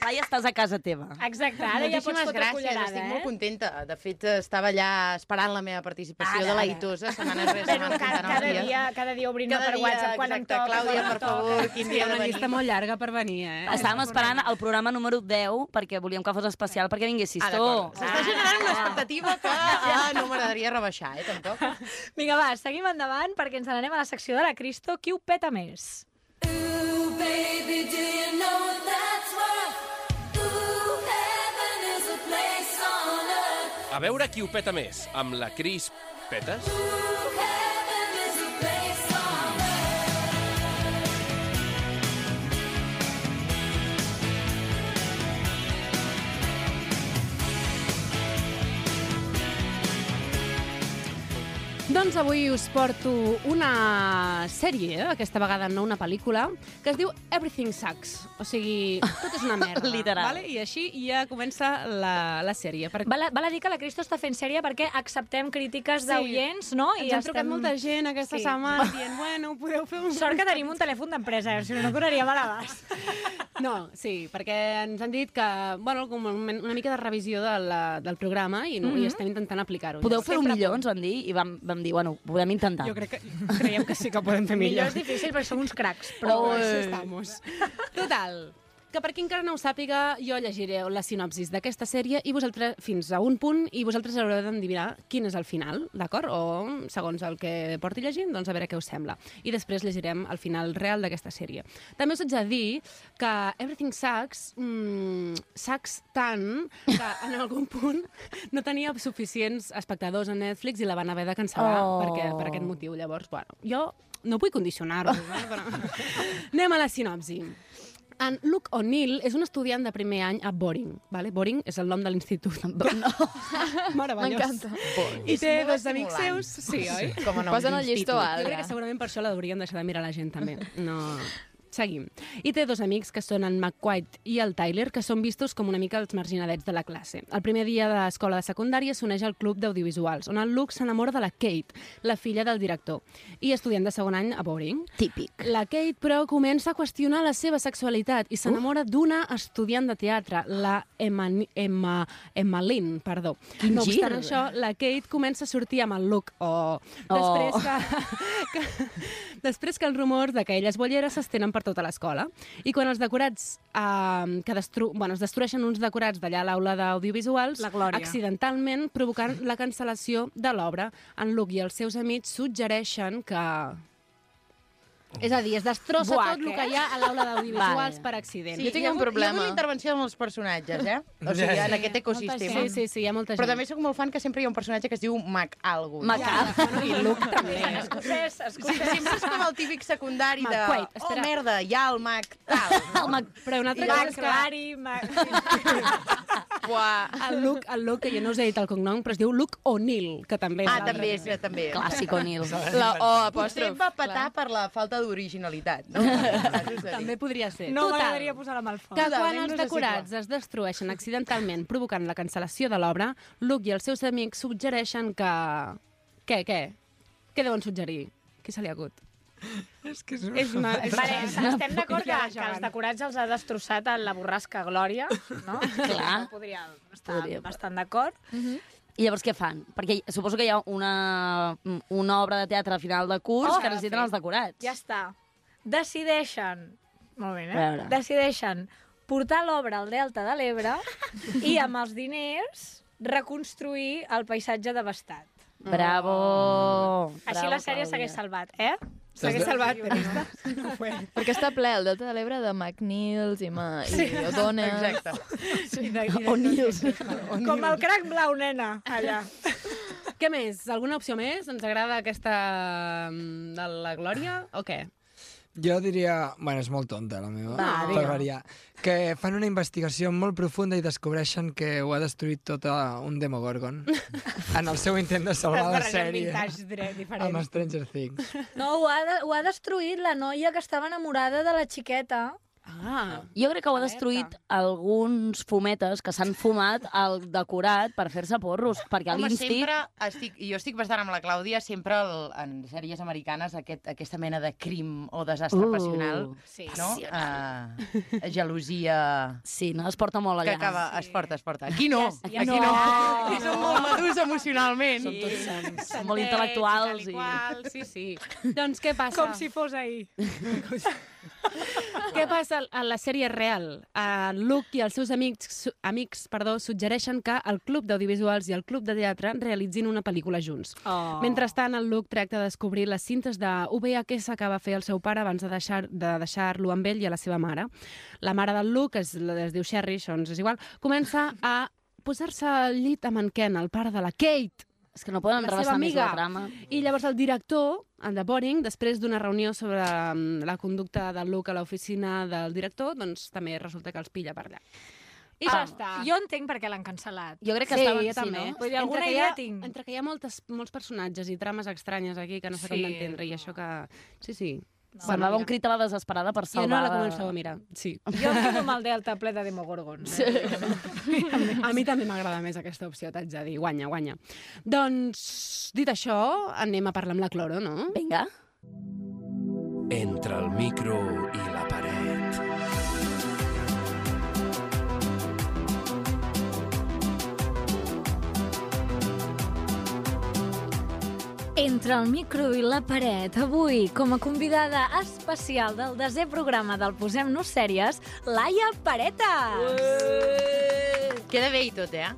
S1: Laia, estàs a casa teva.
S7: Exacte, ara ja pots
S14: Moltíssimes
S7: fotre
S14: gràcies,
S7: cullerada,
S14: estic
S7: eh?
S14: molt contenta. De fet, estava allà esperant la meva participació
S7: Ara,
S14: de la
S7: ara.
S14: Itosa, setmana rere setmana.
S7: cada,
S14: comptant els
S7: cada
S14: dies.
S7: dia, cada dia obrim
S14: Cada
S7: per
S14: dia,
S7: WhatsApp quan em
S14: exacte,
S7: toca.
S14: Clàudia,
S7: quan em
S14: per
S7: toca.
S14: favor, quin dia de
S8: una
S14: venir.
S8: llista molt llarga per venir, eh?
S1: Estàvem esperant el programa número 10 perquè volíem que fos especial perquè vinguessis
S14: Ah,
S1: tu.
S14: d'acord. S'està generant una expectativa que ah, no m'agradaria rebaixar, eh, tampoc.
S7: Vinga, va, seguim endavant perquè ens n'anem a la secció de la Cristo. Qui ho peta més?
S2: A veure qui ho peta més, amb la Cris Petes?
S8: Doncs avui us porto una sèrie, eh? aquesta vegada no una pel·lícula, que es diu Everything Sucks. O sigui, tot és una merda.
S1: Literal.
S8: Vale? I així ja comença la, la sèrie. Per...
S7: Val, a- val a dir que la Cristo està fent sèrie perquè acceptem crítiques d'oients, no?
S8: Ens han trucat molta gent aquesta setmana dient, bueno, podeu fer un...
S7: Sort que tenim un telèfon d'empresa, eh? si no, no donaríem a l'abast.
S8: No, sí, perquè ens han dit que, bueno, com una una mica de revisió de la, del programa i, no, mm -hmm.
S1: Mhm.
S8: i estem intentant aplicar-ho.
S1: Podeu fer-ho
S8: Sempre
S1: millor, ens van dir, i vam, vam dir, bueno, ho podem intentar.
S8: Jo crec que, creiem que sí que podem fer millor.
S7: Millor és difícil perquè som uns cracs,
S8: però
S7: però...
S8: oh, estamos. Total, que per qui encara no ho sàpiga, jo llegiré la sinopsis d'aquesta sèrie i vosaltres fins a un punt i vosaltres haureu d'endivinar quin és el final, d'acord? O segons el que porti llegint, doncs a veure què us sembla. I després llegirem el final real d'aquesta sèrie. També us haig de dir que Everything Sucks mm, sucks tant que en algun punt no tenia suficients espectadors a Netflix i la van haver de cancel·lar
S14: Oh.
S8: oh. perquè, per aquest motiu. Llavors, bueno, jo no vull condicionar-vos, eh, però... Anem a la sinopsi. En Luke O'Neill és un estudiant de primer any a Boring. Vale? Boring és el nom de l'institut. No. Meravellós.
S9: M'encanta.
S8: I
S9: És
S8: té
S9: molt
S8: dos amics
S9: estimulant.
S8: seus. Sí, oi?
S9: Com a nom Posen el llistó d'institut. alt,
S8: Jo crec
S9: ja.
S8: que segurament per això la deurien deixar de mirar la gent, també. No, Seguim. I té dos amics, que són en McQuaid i el Tyler, que són vistos com una mica els marginadets de la classe. El primer dia de l'escola de secundària s'uneix al club d'audiovisuals, on el Luke s'enamora de la Kate, la filla del director, i estudiant de segon any a Boring.
S1: Típic.
S8: La Kate, però, comença a qüestionar la seva sexualitat i s'enamora d'una estudiant de teatre, la Emma, Emma, Emma Lynn, perdó.
S1: Quin
S8: no obstant
S1: gir.
S8: això, la Kate comença a sortir amb el Luke. Oh. Després que Després que els rumors de que ella és bollera s'estenen per tota l'escola. I quan els decorats eh, que destru... bueno, es destrueixen uns decorats d'allà a l'aula d'audiovisuals
S7: La Glòria.
S8: accidentalment provocant la cancel·lació de l'obra, en Luke i els seus amics suggereixen que... És a dir, es destrossa
S14: Buac,
S8: tot
S14: eh?
S8: el que hi ha a l'aula d'audiovisuals
S14: Vale.
S8: per accident.
S14: Sí, jo tinc un problema. Hi ha molta intervenció amb els personatges, eh? O sigui, en aquest ecosistema.
S8: Sí, sí, sí, hi ha molta gent.
S14: Però també sóc molt fan que sempre hi ha un personatge que es diu Mac Algo.
S8: Mac Algo.
S14: I Luke també.
S7: Escocès,
S14: Sí, sempre és com el típic secundari de...
S8: McQuaid,
S14: oh,
S8: espera.
S14: merda, hi ha el Mac tal. El Mac...
S8: Però una altra
S14: Mac
S8: cosa és que...
S14: Clary, Buah.
S8: El Luke, el Luke, que jo no us he dit el cognom, però es diu Luke O'Neill, que també és
S14: Ah,
S8: l'altre.
S14: també, sí, també.
S1: Clàssic O'Neill.
S14: La O
S1: apòstrof,
S14: apòstrof. Potser va petar per la falta d'originalitat, no?
S8: També podria ser.
S7: No
S8: Total.
S7: m'agradaria posar la mà al foc.
S8: que quan
S7: Totalment
S8: els
S7: us asseguro.
S8: decorats es destrueixen accidentalment provocant la cancel·lació de l'obra, Luke i els seus amics suggereixen que... Què, què? Què deuen suggerir? Qui se li acut?
S10: És que és...
S8: És una- és-
S13: Vale,
S8: és una
S13: estem d'acord que,
S8: puta
S13: que els
S8: gegant.
S13: decorats els ha destrossat en la borrasca Glòria, no?
S1: Clar.
S13: No podria estar podria. bastant d'acord.
S1: I llavors què fan? Perquè suposo que hi ha una, una obra de teatre a final de curs
S13: Oh,
S1: que necessiten
S13: sí.
S1: els decorats.
S13: Ja està. Decideixen, molt bé,
S1: A
S13: eh?
S1: veure.
S13: Decideixen portar l'obra al Delta de l'Ebre i amb els diners reconstruir el paisatge devastat.
S1: Bravo!
S7: Mm.
S13: Així
S1: Bravo,
S13: la sèrie
S1: Clàudia.
S13: s'hagués salvat, eh?
S9: S'hagués
S13: salvat,
S9: guionista. Perquè està ple el Delta de l'Ebre de McNeils i, Ma... sí. i O'Donnell.
S14: Exacte.
S9: Sí.
S1: O'Neills.
S13: Com el crac blau, nena, allà.
S8: Què més? Alguna opció més? Ens agrada aquesta mm, de la Glòria o què? Ah,
S10: Jo diria... Bueno, és molt tonta, la meva,
S8: Va,
S10: per
S8: vinga.
S10: variar. Que fan una investigació molt profunda i descobreixen que ho ha destruït tot eh, un Demogorgon en el seu intent de salvar la sèrie
S8: diferent.
S10: amb Stranger Things.
S13: No, ho ha, de- ho ha destruït la noia que estava enamorada de la xiqueta.
S8: Ah.
S1: Jo crec que ho ha destruït alguns fumetes que s'han fumat al decorat per fer-se porros, perquè a
S14: Home,
S1: l'insti...
S14: sempre estic, jo estic bastant amb la Clàudia, sempre el, en sèries americanes aquest, aquesta mena de crim o desastre
S1: Uh,
S14: passional,
S13: sí.
S14: no? Uh, gelosia...
S1: Sí, no? Es porta molt allà.
S14: Que acaba, es porta, es porta. Aquí no,
S1: Aquí
S14: aquí
S1: no.
S14: no. Aquí som molt madurs emocionalment.
S1: Som tots sants.
S8: Sentets
S1: Molt intel·lectuals. I...
S8: I... tal i qual, Sí, sí. doncs què passa?
S13: Com si fos ahir.
S8: Què passa a la sèrie real? Uh, Luke i els seus amics, su- amics perdó, suggereixen que el Club d'Audiovisuals i el Club de Teatre realitzin una pel·lícula junts.
S13: Oh.
S8: Mentrestant, el Luke tracta de descobrir les cintes de VHS que va fer el seu pare abans de deixar- de deixar-lo de deixar amb ell i a la seva mare. La mare del Luke, es, es diu Sherry, això ens és igual, comença a posar-se al llit amb en Ken, el pare de la Kate.
S1: És que no poden
S8: la seva
S1: rebaixar més
S8: amiga.
S1: la trama.
S8: I llavors el director, el de Boring, després d'una reunió sobre mm, la conducta del Luke a l'oficina del director, doncs també resulta que els pilla per allà. I
S13: Ah.
S8: ja està.
S7: Jo entenc per què l'han cancel·lat.
S1: Jo crec que
S8: sí,
S1: estaven-
S8: jo
S1: sí,
S8: també.
S1: no?
S7: Vull dir, alguna
S8: entre que hi
S7: idea
S8: ha,
S7: tinc.
S8: Entre que hi ha moltes, molts personatges i trames estranyes aquí que no sé
S7: Sí,
S8: com d'entendre, i això que... Sí, sí.
S1: No, Semblava un crit a la desesperada per
S8: Jo
S1: salvar...
S8: no la començo a mirar, sí.
S13: Jo em quedo amb el Delta ple de demogorgons. Sí.
S8: A mi també m'agrada més aquesta opció, t'haig de dir. Guanya, guanya. Doncs, dit això, anem a parlar amb la Cloro, no?
S1: Vinga.
S12: Entre el micro i la paret.
S7: Entre el micro i la paret, avui, com a convidada especial del desè programa del Posem-nos Sèries, Laia Pareta!
S14: Queda bé i tot, eh?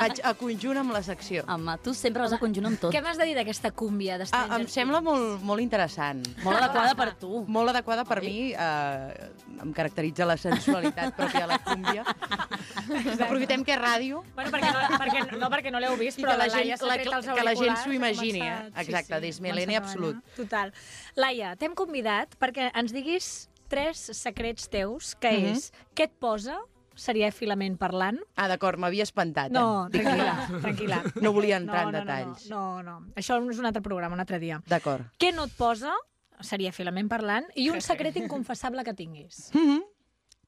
S14: A, a conjunt amb la secció.
S1: Home, tu sempre vas a conjunt amb tot.
S7: Què m'has de dir d'aquesta cúmbia d'Estranger
S14: Ah, em sembla molt, molt interessant.
S1: Molt adequada per tu.
S14: Molt adequada per mi. Eh, em caracteritza la sensualitat pròpia de la cúmbia. Aprofitem que és ràdio.
S13: Bueno, perquè no, perquè, no- no perquè no l'heu vist,
S14: I
S13: però
S14: que la
S13: la, Laia
S14: gent-
S13: s'ha
S14: la-
S13: tret els
S14: que la gent
S13: auriculars,
S14: s'ho
S13: ha
S14: imagini,
S13: començat-
S14: eh? Exacte, dismileni
S13: comença a
S14: absolut.
S13: treballar. Total. Laia, t'hem convidat perquè ens diguis tres secrets teus, que
S14: Mhm.
S13: és què et posa serièfilament parlant.
S14: Ah, d'acord, m'havia espantat. eh?
S13: No,
S14: Dic,
S13: tranquil·la, tranquil·la.
S14: No volia entrar
S13: no,
S14: en
S13: no,
S14: detalls.
S13: No, no, no. Això és un altre programa, un altre dia.
S14: D'acord.
S13: Què no et posa
S7: seria filament parlant, i un secret inconfessable que tinguis.
S14: Mm -hmm.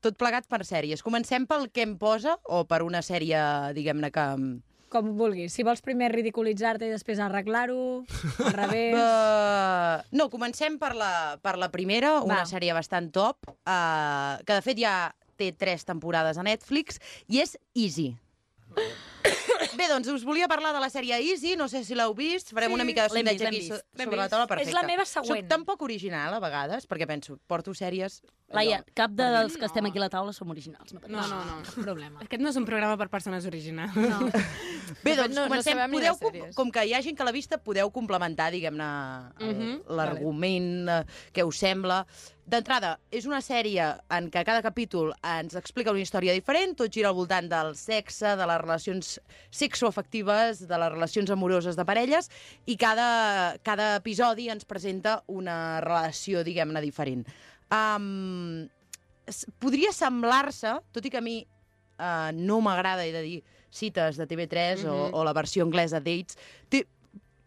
S14: Tot plegat per sèries. Comencem pel que em posa o per una sèrie, diguem-ne, que... mm, em-
S7: Com vulguis. Si vols primer ridiculitzar-te i després arreglar-ho, al revés...
S14: Uh, no, comencem per la, per la primera, una
S7: Va.
S14: sèrie bastant top, uh, que de fet ja té tres temporades a Netflix, i és Easy. Bé, doncs us volia parlar de la sèrie Easy, no sé si l'heu vist, farem
S7: Sí.
S14: una mica de
S7: L'hem
S14: sondeig
S7: vist,
S14: aquí
S7: l'hem
S14: so-
S7: vist, l'hem
S14: sobre la
S7: vist.
S14: taula,
S7: És
S14: perfecte.
S7: la meva
S14: Soc
S7: següent.
S14: tan poc original a vegades, perquè penso, porto sèries...
S1: Laia, cap de,
S14: Perdó.
S1: dels que estem aquí a la taula som originals. No,
S8: No, no, no.
S7: Cap problema.
S8: Aquest no és un programa per persones originals. No.
S14: Bé, doncs
S8: no- no
S14: comencem.
S8: sabem ni
S14: podeu,
S8: les
S14: com, com que hi ha gent que l'ha vista, podeu complementar, diguem-ne, el-
S8: Mhm,
S14: l'argument, eh, què us sembla. D'entrada, és una sèrie en què cada capítol ens explica una història diferent, tot gira al voltant del sexe, de les relacions sexoafectives, de les relacions amoroses de parelles, i cada, cada episodi ens presenta una relació, diguem-ne, diferent. Um, s- podria semblar-se, tot i que a mi uh, no m'agrada, he de dir, cites de TV3
S1: Mhm.
S14: o, o la versió anglesa d'Ates, té,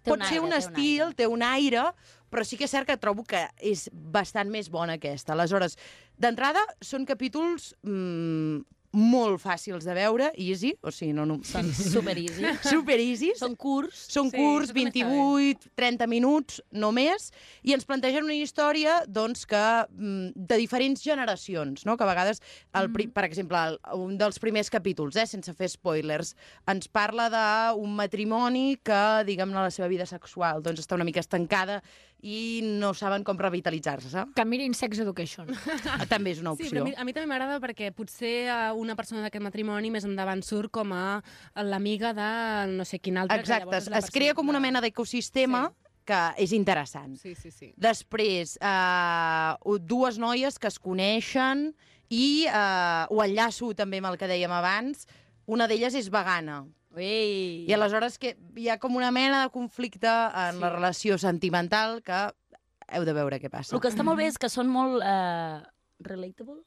S14: pot
S1: un
S14: ser
S1: aire,
S14: un
S1: té un
S14: estil, té un aire, però sí que és cert que trobo que és bastant més bona aquesta. Aleshores, d'entrada, són capítols mm, molt fàcils de veure, easy, o sigui, no... no...
S1: Són super easy.
S14: super easy. Són
S1: curts.
S14: Són
S1: Sí,
S14: curts,
S1: això també està bé.
S14: 28, 30 minuts només, i ens plantegen una història doncs, que, mm, de diferents generacions, no? que a vegades, el, pri- per exemple, el, un dels primers capítols, eh, sense fer spoilers, ens parla d'un matrimoni que, diguem-ne, la seva vida sexual doncs, està una mica estancada i no saben com revitalitzar-se.
S7: Que mirin Sex Education.
S14: També és una
S8: Sí,
S14: opció.
S8: però a mi, a mi també m'agrada perquè potser eh, una persona d'aquest matrimoni més endavant surt com a l'amiga de no sé quin altre. que
S14: Exacte,
S8: llavors
S14: es,
S8: la
S14: es crea com una mena d'ecosistema sí. que és interessant.
S8: Sí, sí, sí.
S14: Després, eh, dues noies que es coneixen i eh, ho enllaço també amb el que dèiem abans, una d'elles és vegana.
S1: Ei.
S14: I aleshores que hi ha com una mena de conflicte en sí. la relació sentimental que heu de veure què passa.
S1: El que està molt bé és que són molt... Eh, relatable?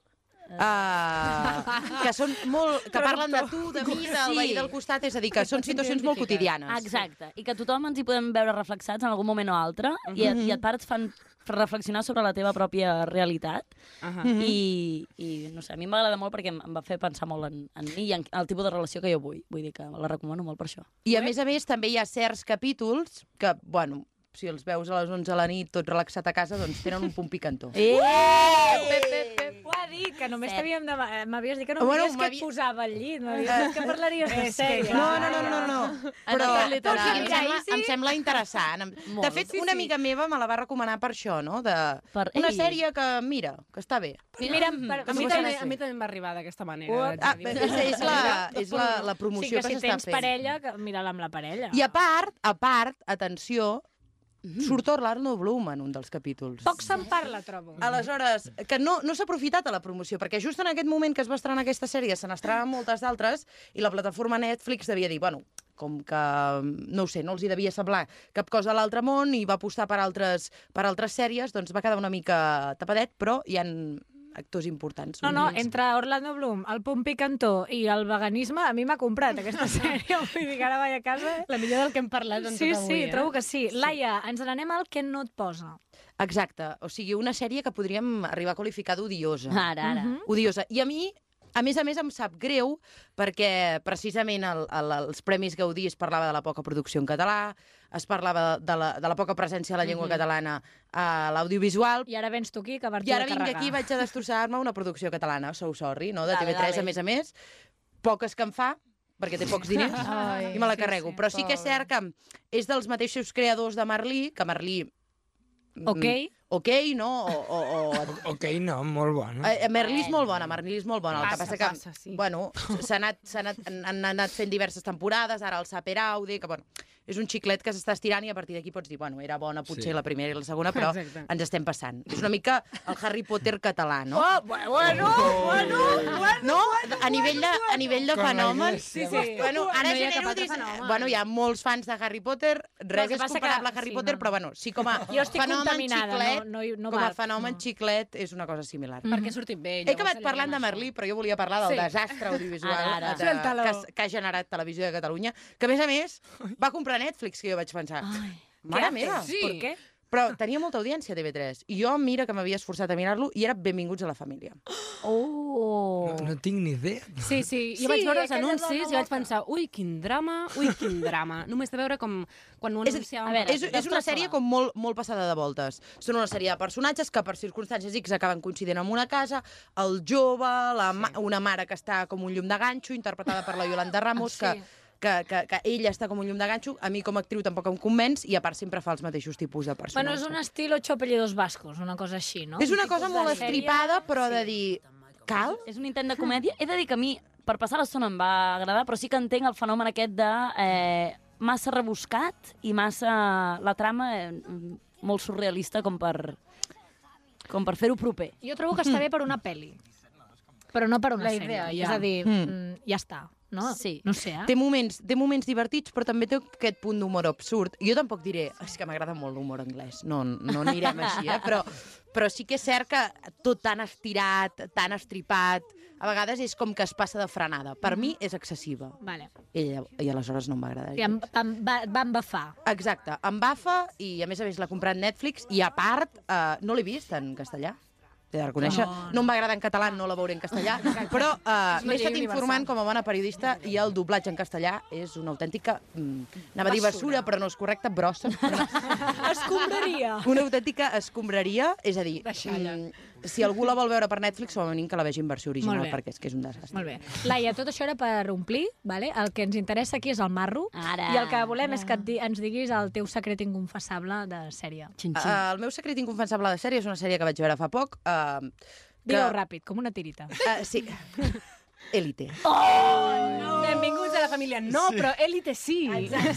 S14: Uh, que són molt... que parlen de tu, de mi, del
S1: Sí.
S14: veí del costat, és a dir, que són situacions molt quotidianes.
S1: Exacte, i que tothom ens hi podem veure reflexats en algun moment o altre, i, a- i a part et fan reflexionar sobre la teva pròpia realitat.
S8: Mhm.
S1: I, I, no sé, a mi m'agrada molt perquè em, em va fer pensar molt en, en mi i en el tipus de relació que jo vull. Vull dir que la recomano molt per això.
S14: I a més a més també hi ha certs capítols que, bueno, si els veus a les 11 de la nit tot relaxat a casa, doncs tenen un punt picantó.
S1: Eh!
S7: Pep, Pep, Pep, ho ha dit, que només t'havíem de... eh, M'havies dit que no
S14: Bueno,
S7: bueno, que et posava al llit, m'havies dit que parlaries de
S14: És que-
S7: sèries.
S14: No, no, no, no, no. Però
S7: Anat
S14: em
S7: literal.
S14: sembla,
S7: Sí, sí.
S14: em sembla interessant. Em- De fet, una amiga meva me la va recomanar per això, no? De...
S1: Per,
S14: una
S8: ei.
S14: sèrie que, mira, que està bé.
S7: Mira, per,
S8: A mi, també, a mi també em va arribar d'aquesta manera.
S14: What?
S8: haig de
S14: Ah,
S8: dir.
S14: és- és la- és la- la promoció
S7: sí, que,
S14: que
S7: si
S14: s'està
S7: tens
S14: fent.
S7: parella, que... mira-la amb la parella.
S14: I a part, a part, atenció, surt Orlando Bloom en un dels capítols.
S7: Poc se'n parla, trobo.
S14: Mm-hmm. Aleshores, que no, no s'ha aprofitat a la promoció, perquè just en aquest moment que es va estrenar aquesta sèrie se n'estrenaven moltes d'altres i la plataforma Netflix devia dir, bueno, com que, no ho sé, no els hi devia semblar cap cosa a l'altre món i va apostar per altres, per altres sèries, doncs va quedar una mica tapadet, però hi han actors importants.
S7: No, no, entre Orlando Bloom, el Pompi Cantó i el veganisme, a mi m'ha comprat aquesta sèrie. Vull dir que ara vaig a casa...
S8: La millor del que hem parlat doncs,
S7: Sí,
S8: tot
S7: sí,
S8: avui, eh?
S7: trobo que sí. Laia, ens n'anem al que no et posa.
S14: Exacte, o sigui, una sèrie que podríem arribar a qualificar d'odiosa.
S1: Ara, ara. Mhm.
S14: Odiosa. I a mi, a més a més, em sap greu perquè precisament el, el, els Premis Gaudí es parlava de la poca producció en català, es parlava de la, de la poca presència de la llengua
S7: Mhm.
S14: catalana a l'audiovisual,
S7: I ara vens tu aquí, que
S14: i
S7: Bartolo
S14: ara vinc aquí i vaig a destrossar-me una producció catalana, so sorry, no? de
S7: Dale,
S14: TV3,
S7: dale.
S14: a més a més. Poques que em fa, perquè té pocs diners,
S7: Ai,
S14: i me la
S7: sí,
S14: carrego.
S7: sí,
S14: Però sí que és
S7: pobre.
S14: cert que és dels mateixos creadors de Merlí, que Merlí... mm,
S7: Ok.
S14: Ok, no? O, o, o...
S10: Ok, no, molt
S8: Mm.
S10: bona.
S14: Eh, eh, Merlí és molt bona, Merlí és molt bona. El que
S10: Passa,
S14: passa que,
S10: passa,
S14: sí. bueno, s'ha anat, s'ha anat, han anat fent diverses temporades, ara el Saper Aude, que, bueno, és un xiclet que s'està estirant i a partir d'aquí pots dir, bueno, era bona potser
S10: Sí.
S14: la primera i la segona, però
S10: Exacte.
S14: ens estem passant. És una mica el Harry Potter català, no?
S12: Oh, bueno, bueno, bueno, bueno,
S14: no? a nivell de, a nivell de
S12: Com la
S14: fenomen...
S12: Iglesia. Sí, sí.
S14: Bueno, ara
S12: No hi ha cap
S14: genero...
S12: altre
S14: dis-
S12: fenomen.
S14: Bueno, hi ha molts fans de Harry Potter,
S7: Però el
S14: res
S7: que
S14: és
S7: passa que-
S14: comparable a Harry
S7: sí,
S14: Potter,
S7: no, no.
S14: però bueno, sí com a
S7: Jo estic
S14: fenomen
S7: contaminada,
S14: xiclet,
S7: no- no- no
S14: com a
S7: val,
S14: fenomen xiclet és una cosa similar.
S8: Perquè ha sortit bé.
S14: He acabat parlant de Merlí, però jo volia parlar del
S8: Sí.
S14: desastre audiovisual
S8: Ara, ara.
S14: De,
S8: Suéltalo.
S14: que, s- que ha generat Televisió de Catalunya, que a més a més va comprar Netflix, que jo vaig pensar. Mare
S8: Què
S14: meva!
S8: haces? Sí. Per què?
S14: Però tenia molta audiència, TV3. I jo, mira, que m'havia esforçat a mirar-lo, i era Benvinguts a la família.
S1: Oh!
S10: No, no tinc ni idea.
S8: Sí, sí, jo
S13: Sí,
S8: vaig veure els
S13: aquella dona
S8: anuncis i vaig
S13: loca.
S8: pensar, ui, quin drama, ui, quin drama. Només de veure com quan ho
S14: És a dir,
S8: anunciàvem...
S14: és, és una sèrie com molt, molt passada de voltes. Són una sèrie de personatges que per circumstàncies X acaben coincidint en una casa, el jove, la ma una mare que està com un llum de ganxo, interpretada per la Yolanda Ramos,
S7: Ah,
S14: que, que, que, que ella està com un llum de ganxo, a mi com a actriu tampoc em convenç, i a part sempre fa els mateixos tipus de personatges.
S7: Bueno, és un estil ocho apellidos vascos, una cosa així, no?
S14: És una cosa molt estripada, però de dir... Cal?
S1: És un intent de comèdia. He de dir que a mi, per passar l'estona, em va agradar, però sí que entenc el fenomen aquest de eh, massa rebuscat i massa... La trama eh, m- molt surrealista com per, com per fer-ho proper.
S7: Jo trobo que està bé per una pel·li, però no per una
S8: La
S7: sèrie.
S8: idea,
S7: És
S8: ja.
S7: a dir,
S14: Mm.
S7: mm. ja està, no?
S1: Sí.
S7: No sé, eh?
S14: Té moments, té moments divertits, però també té aquest punt d'humor absurd. Jo tampoc diré, és que m'agrada molt l'humor anglès, no, no anirem així, eh? però, però sí que és cert que tot tan estirat, tan estripat, a vegades és com que es passa de frenada. Per mi és excessiva.
S7: Vale.
S14: I, lla- i aleshores no m'agrada.
S7: I em, em va, va embafar.
S14: Exacte, em bafa i a més a més l'ha comprat Netflix i a part eh, no l'he vist en castellà. T'he de reconèixer. No,
S7: No,
S14: no em va agradar en català, no la veuré en castellà, però eh,
S7: És una
S14: m'he estat
S7: llei
S14: informant com a bona periodista i el doblatge en castellà és una autèntica... Mm, anava a dir
S7: Bessura.
S14: bessura, però no és correcte, brossa.
S7: Escombraria.
S14: Una autèntica escombraria, és a dir, mm, si algú la vol veure per Netflix, com a mínim que la vegi en versió
S7: Molt
S14: original,
S7: bé.
S14: perquè és que és un desastre.
S7: Molt bé. Laia, tot això era per omplir, vale? el que ens interessa aquí és el marro,
S1: Ara.
S7: i el que volem és que et di ens diguis el teu secret inconfessable de sèrie.
S1: Xin, xin.
S14: Eh, el meu secret inconfensable de sèrie és una sèrie que vaig veure fa poc. Eh, que...
S7: Digue-ho ràpid, com una tirita.
S14: Eh, sí. Élite.
S8: No. Benvinguts a la família. No, sí. però Elite sí.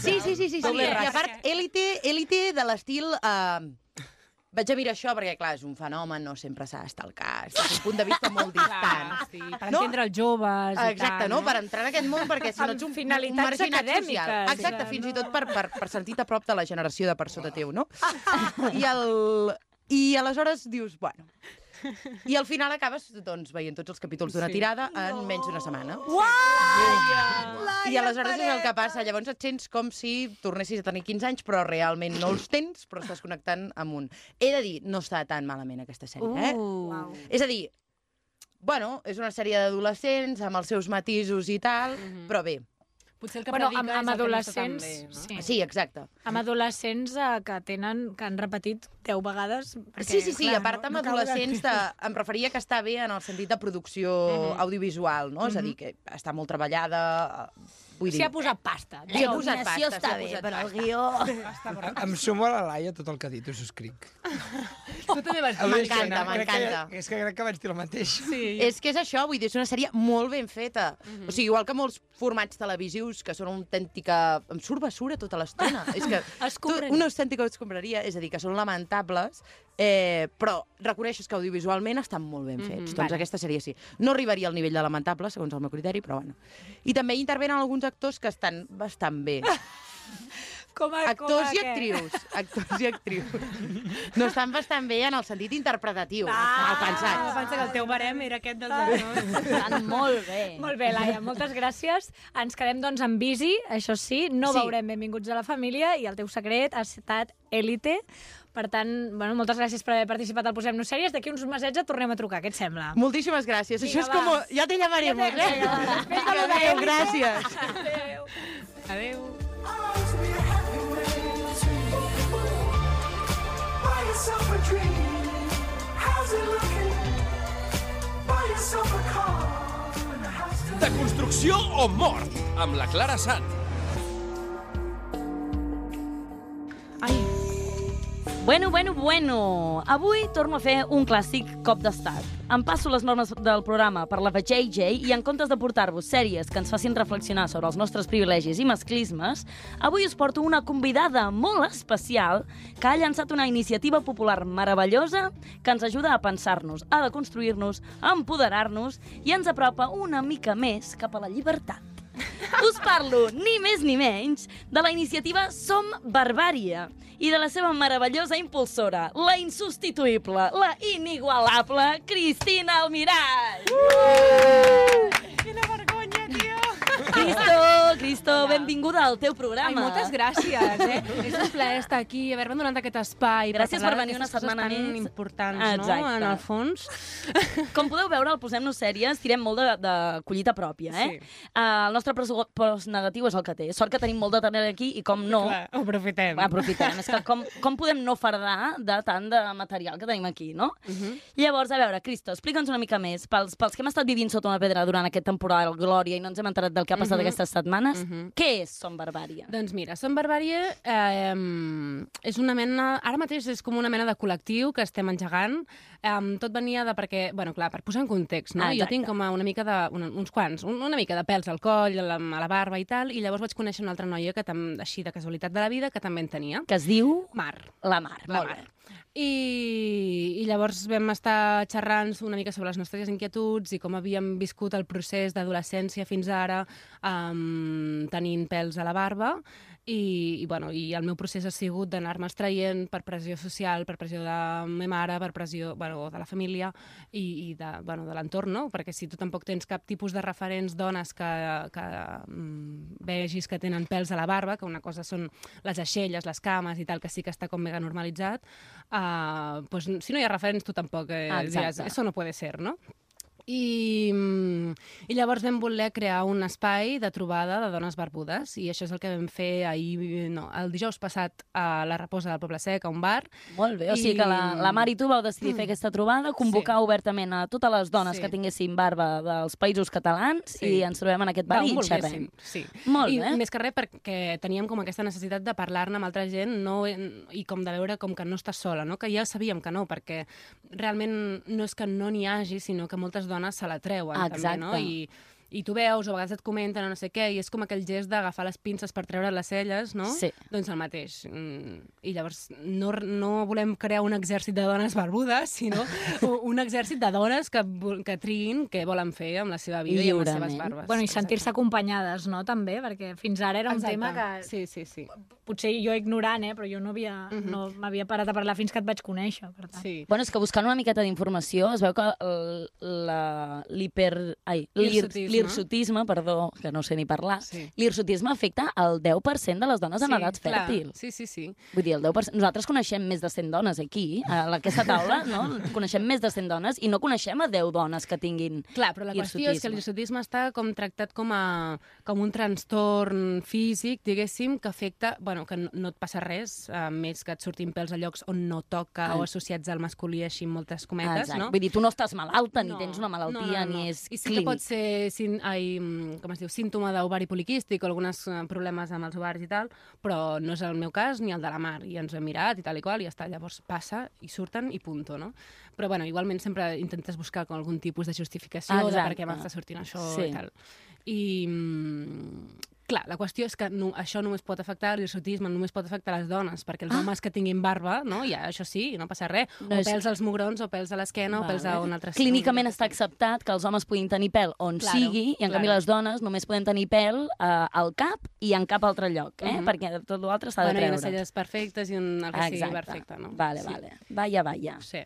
S14: Sí, sí, sí, sí. sí.
S8: Doble
S14: I a
S8: rasca.
S14: part, élite, élite de l'estil... Eh, vaig a mirar això perquè, clar, és un fenomen, no sempre s'ha d'estar al cas. És un punt de vista molt distant.
S8: Clar, sí, per
S14: No.
S8: entendre els joves i eh?
S14: Exacte,
S8: tal,
S14: no? Per entrar en aquest món, perquè si no
S7: Amb
S14: ets un, un
S7: finalitats
S14: marginat social.
S7: acadèmiques,
S14: Exacte,
S7: clar,
S14: fins
S7: no?
S14: i tot per, per, per sentir-te a prop de la generació de per sota teu, no? I, el, I aleshores dius, bueno... I al final acabes doncs, veient tots els capítols d'una
S8: Sí.
S14: tirada en menys d'una setmana.
S8: Laia!
S14: I aleshores és el que passa. Llavors et sents com si tornessis a tenir 15 anys, però realment no els tens, però estàs connectant amb un... He de dir, no està tan malament aquesta sèrie, eh?
S1: Uh.
S14: És a dir, bueno, és una sèrie d'adolescents amb els seus matisos i tal,
S1: Mhm.
S14: però bé,
S8: Potser el que
S7: Bueno,
S8: predica
S7: amb,
S8: és
S7: amb
S8: el que no està tan
S7: adolescents...
S8: bé,
S7: sí.
S8: no?
S14: sí, exacte.
S7: Amb adolescents eh, que tenen que han repetit 10 vegades.
S14: sí, sí, sí, a part amb
S7: cal
S14: adolescents de, em referia que està bé en el sentit de producció
S1: Mhm.
S14: audiovisual, no? És a dir, que està molt treballada, eh, vull dir...
S7: S'hi ha posat pasta.
S14: S'hi ha posat
S1: L'il·luminació
S14: pasta,
S1: està
S14: s'hi ha
S1: bé,
S14: posat
S1: però el
S14: pasta.
S1: guió...
S10: Em sumo a la Laia tot el que ha dit, us escric.
S8: Tu també vas dir...
S14: M'encanta, m'encanta.
S10: És que crec que vaig dir el mateix.
S8: Sí, jo...
S14: És que és això, vull dir, és una sèrie molt ben feta.
S7: Mhm.
S14: O sigui, igual que molts formats televisius que són una autèntica... Em surt bessura tota l'estona. és que
S7: Escombraria.
S14: tu- una autèntica escombraria, és a dir, que són lamentables, eh, però reconeixes que audiovisualment estan molt ben fets. doncs
S7: Mhm. vale.
S14: aquesta sèrie sí. No arribaria al nivell de lamentable, segons el meu criteri, però bueno. I també intervenen alguns actors que estan bastant bé.
S7: Com a, com a
S14: Actors i
S7: què?
S14: actrius. Actors i actrius. No estan bastant bé en el sentit interpretatiu. Ah, mal
S8: Ah,
S14: pensats.
S8: pensa que el teu barem era
S7: Ah!
S8: aquest dels adolescents.
S1: Estan molt bé.
S7: Molt bé, Laia, moltes gràcies. Ens quedem, doncs, amb Busy, això sí. No
S14: Sí.
S7: veurem Benvinguts a la família i el teu secret ha estat Elite. Per tant, bueno, moltes gràcies per haver participat al Posem-nos Sèries. D'aquí uns mesets et tornem a trucar, què et sembla?
S14: Moltíssimes gràcies. Això
S7: Vinga,
S14: és com...
S7: va.
S14: Ja te llamaremos,
S7: Ja te-
S14: eh?
S7: ja, després de lo de
S14: Adéu,
S7: Elite.
S14: gràcies.
S7: Adéu.
S8: Adéu.
S12: Buy yourself a dream. How's it looking? Buy yourself a car. and a house to
S2: De construcció o mort, amb la Clara Sant.
S8: Ai,
S1: Bueno, bueno, bueno. Avui torno a fer un clàssic cop d'estat. Em passo les normes del programa per la JJ i en comptes de portar-vos sèries que ens facin reflexionar sobre els nostres privilegis i masclismes, avui us porto una convidada molt especial que ha llançat una iniciativa popular meravellosa que ens ajuda a pensar-nos, a deconstruir-nos, a empoderar-nos i ens apropa una mica més cap a la llibertat. Us parlo, ni més ni menys, de la iniciativa Som Barbària i de la seva meravellosa impulsora, la insubstituïble, la inigualable Cristina Almirall. Uh! Quina vergonya, tio! Cristo, Cristo, benvinguda al teu programa.
S8: Ai, moltes gràcies, eh? és un plaer estar aquí, haver-me donat aquest espai.
S1: Gràcies per
S8: parlar
S1: venir una
S8: d'aquestes coses
S1: setmana
S8: tan
S1: més.
S8: importants, no?
S1: Exacte.
S8: En el fons.
S1: Com podeu veure, el Posem-nos sèries, tirem molt de, de collita pròpia, eh?
S8: Sí.
S1: Uh, el nostre pressupost post negatiu és el que té. Sort que tenim molt de talent aquí i com no...
S8: Clar, ho aprofitem.
S1: Aprofitem. És que com, com podem no fardar de tant de material que tenim aquí, no? Uh
S8: Mhm.
S1: -huh. Llavors, a veure, Cristo, explica'ns una mica més. Pels, pels que hem estat vivint sota una pedra durant aquest temporal, Glòria, i no ens hem enterat del que ha passat
S8: Mhm.
S1: aquestes setmanes, què és Som Barbària?
S8: Doncs mira, Som Barbària eh, és una mena... Ara mateix és com una mena de col·lectiu que estem engegant. Eh, tot venia de perquè... bueno, clar, per posar en context, no?
S1: Ah,
S8: jo
S1: exacte.
S8: tinc com a una mica de... Un, uns quants, un, una mica de pèls al coll, a la, a la barba i tal, i llavors vaig conèixer una altra noia que tam, així de casualitat de la vida que també en tenia.
S1: Que es diu?
S8: Mar.
S1: La Mar.
S8: La Mar. I, I llavors vam estar xerrant una mica sobre les nostres inquietuds i com havíem viscut el procés d'adolescència fins ara um, tenint pèls a la barba i, i, bueno, i el meu procés ha sigut d'anar-me extraient per pressió social, per pressió de ma mare, per pressió bueno, de la família i, i de, bueno, de l'entorn, no? perquè si tu tampoc tens cap tipus de referents dones que, que mm, vegis que tenen pèls a la barba, que una cosa són les aixelles, les cames i tal, que sí que està com mega normalitzat, uh, pues, si no hi ha referents tu tampoc eh,
S1: Exacte.
S8: diràs, això no puede ser, no? I, mm, I llavors vam voler crear un espai de trobada de dones barbudes i això és el que vam fer ahir, no, el dijous passat a la Reposa del Poble Sec, a un bar.
S1: Molt bé, o sigui que la, la Mar i tu vau decidir fer aquesta trobada, convocar sí. obertament a totes les dones
S8: Mm. Sí.
S1: sí. que tinguessin barba dels països catalans sí.
S8: Sí.
S1: i ens trobem en aquest bar i
S8: Va, on
S1: xerrem.
S8: volguéssim, Sí.
S1: Molt
S8: I
S1: bé.
S8: més que res perquè teníem com aquesta necessitat de parlar-ne amb altra gent no, i com de veure com que no estàs sola, no? que ja sabíem que no, perquè realment no és que no n'hi hagi, sinó que moltes dones se la treuen.
S1: Exacte.
S8: També, no? I, i tu veus, o a vegades et comenten o no sé què, i és com aquell gest d'agafar les pinces per treure les celles, no?
S1: Sí.
S8: Doncs el mateix. Mm, I llavors no, no volem crear un exèrcit de dones barbudes, sinó u- un exèrcit de dones que, vol- que triguin què volen fer amb la seva vida i amb les seves barbes.
S7: Bueno, i sentir-se acompanyades, no?, també, perquè fins ara era un
S8: Exacte.
S7: tema que...
S8: Sí, sí, sí.
S7: Potser jo ignorant, eh, però jo no havia, no m'havia parat a parlar fins que et vaig conèixer, per tant.
S8: Mhm. Sí.
S1: Bueno, és que buscant una miqueta d'informació es veu que el- la- l'hiper... Ai, l'hir-
S8: L'hirsutisme.
S1: l'hirsutisme, perdó, que no sé ni parlar,
S8: Sí.
S1: l'hirsutisme afecta el 10% de les dones en edat
S8: clar.
S1: fèrtil.
S8: Sí, sí, sí.
S1: Vull dir, el 10%... Nosaltres coneixem més de 100 dones aquí, a aquesta taula, no? Coneixem més de 100 dones i no coneixem a 10 dones que tinguin
S8: Clar, però la qüestió és que
S1: hirsutisme.
S8: l'hirsutisme està com tractat com, a, com un trastorn físic, diguéssim, que afecta, bueno, que no, no et passa res, a més que et surtin pèls a llocs on no toca
S1: Ah.
S8: o associats al masculí, així amb moltes cometes,
S1: Exacte.
S8: no?
S1: Vull dir, tu no estàs malalta, ni tens una malaltia, ni és
S8: I sí
S1: clínic.
S8: que pot ser sin, ai, mm, com es diu, símptoma d'ovari poliquístic o alguns eh, problemes amb els ovaris i tal, però no és el meu cas ni el de la Mar. I ens hem mirat i tal i qual, i ja està. Llavors passa i surten i punto, no? Però, bueno, igualment sempre intentes buscar com algun tipus de justificació de per
S1: Exacte.
S8: què m'està sortint això
S1: Sí.
S8: i tal. I... mm, Clar, la qüestió és que no, això només pot afectar l'irsutisme, només pot afectar les dones, perquè els homes que tinguin barba, no? ja això sí, no passa res,
S1: Ah. No
S8: o
S1: és-
S8: pèls als mugrons, o pèls a l'esquena, o pèls a un altre
S1: Clínicament està acceptat que els homes puguin tenir pèl on
S8: Claro,
S1: sigui i en canvi
S8: claro.
S1: les dones només podem tenir pèl eh, al cap i en cap altre lloc, eh?
S8: Mhm.
S1: Perquè tot l'altre s'ha de
S8: bueno, i unes
S1: treure. Ah,
S8: celles perfectes i un el que sigui
S1: Exacte.
S8: perfecte, no?
S1: Vale, vale. Vaya, vaya.
S8: Sí.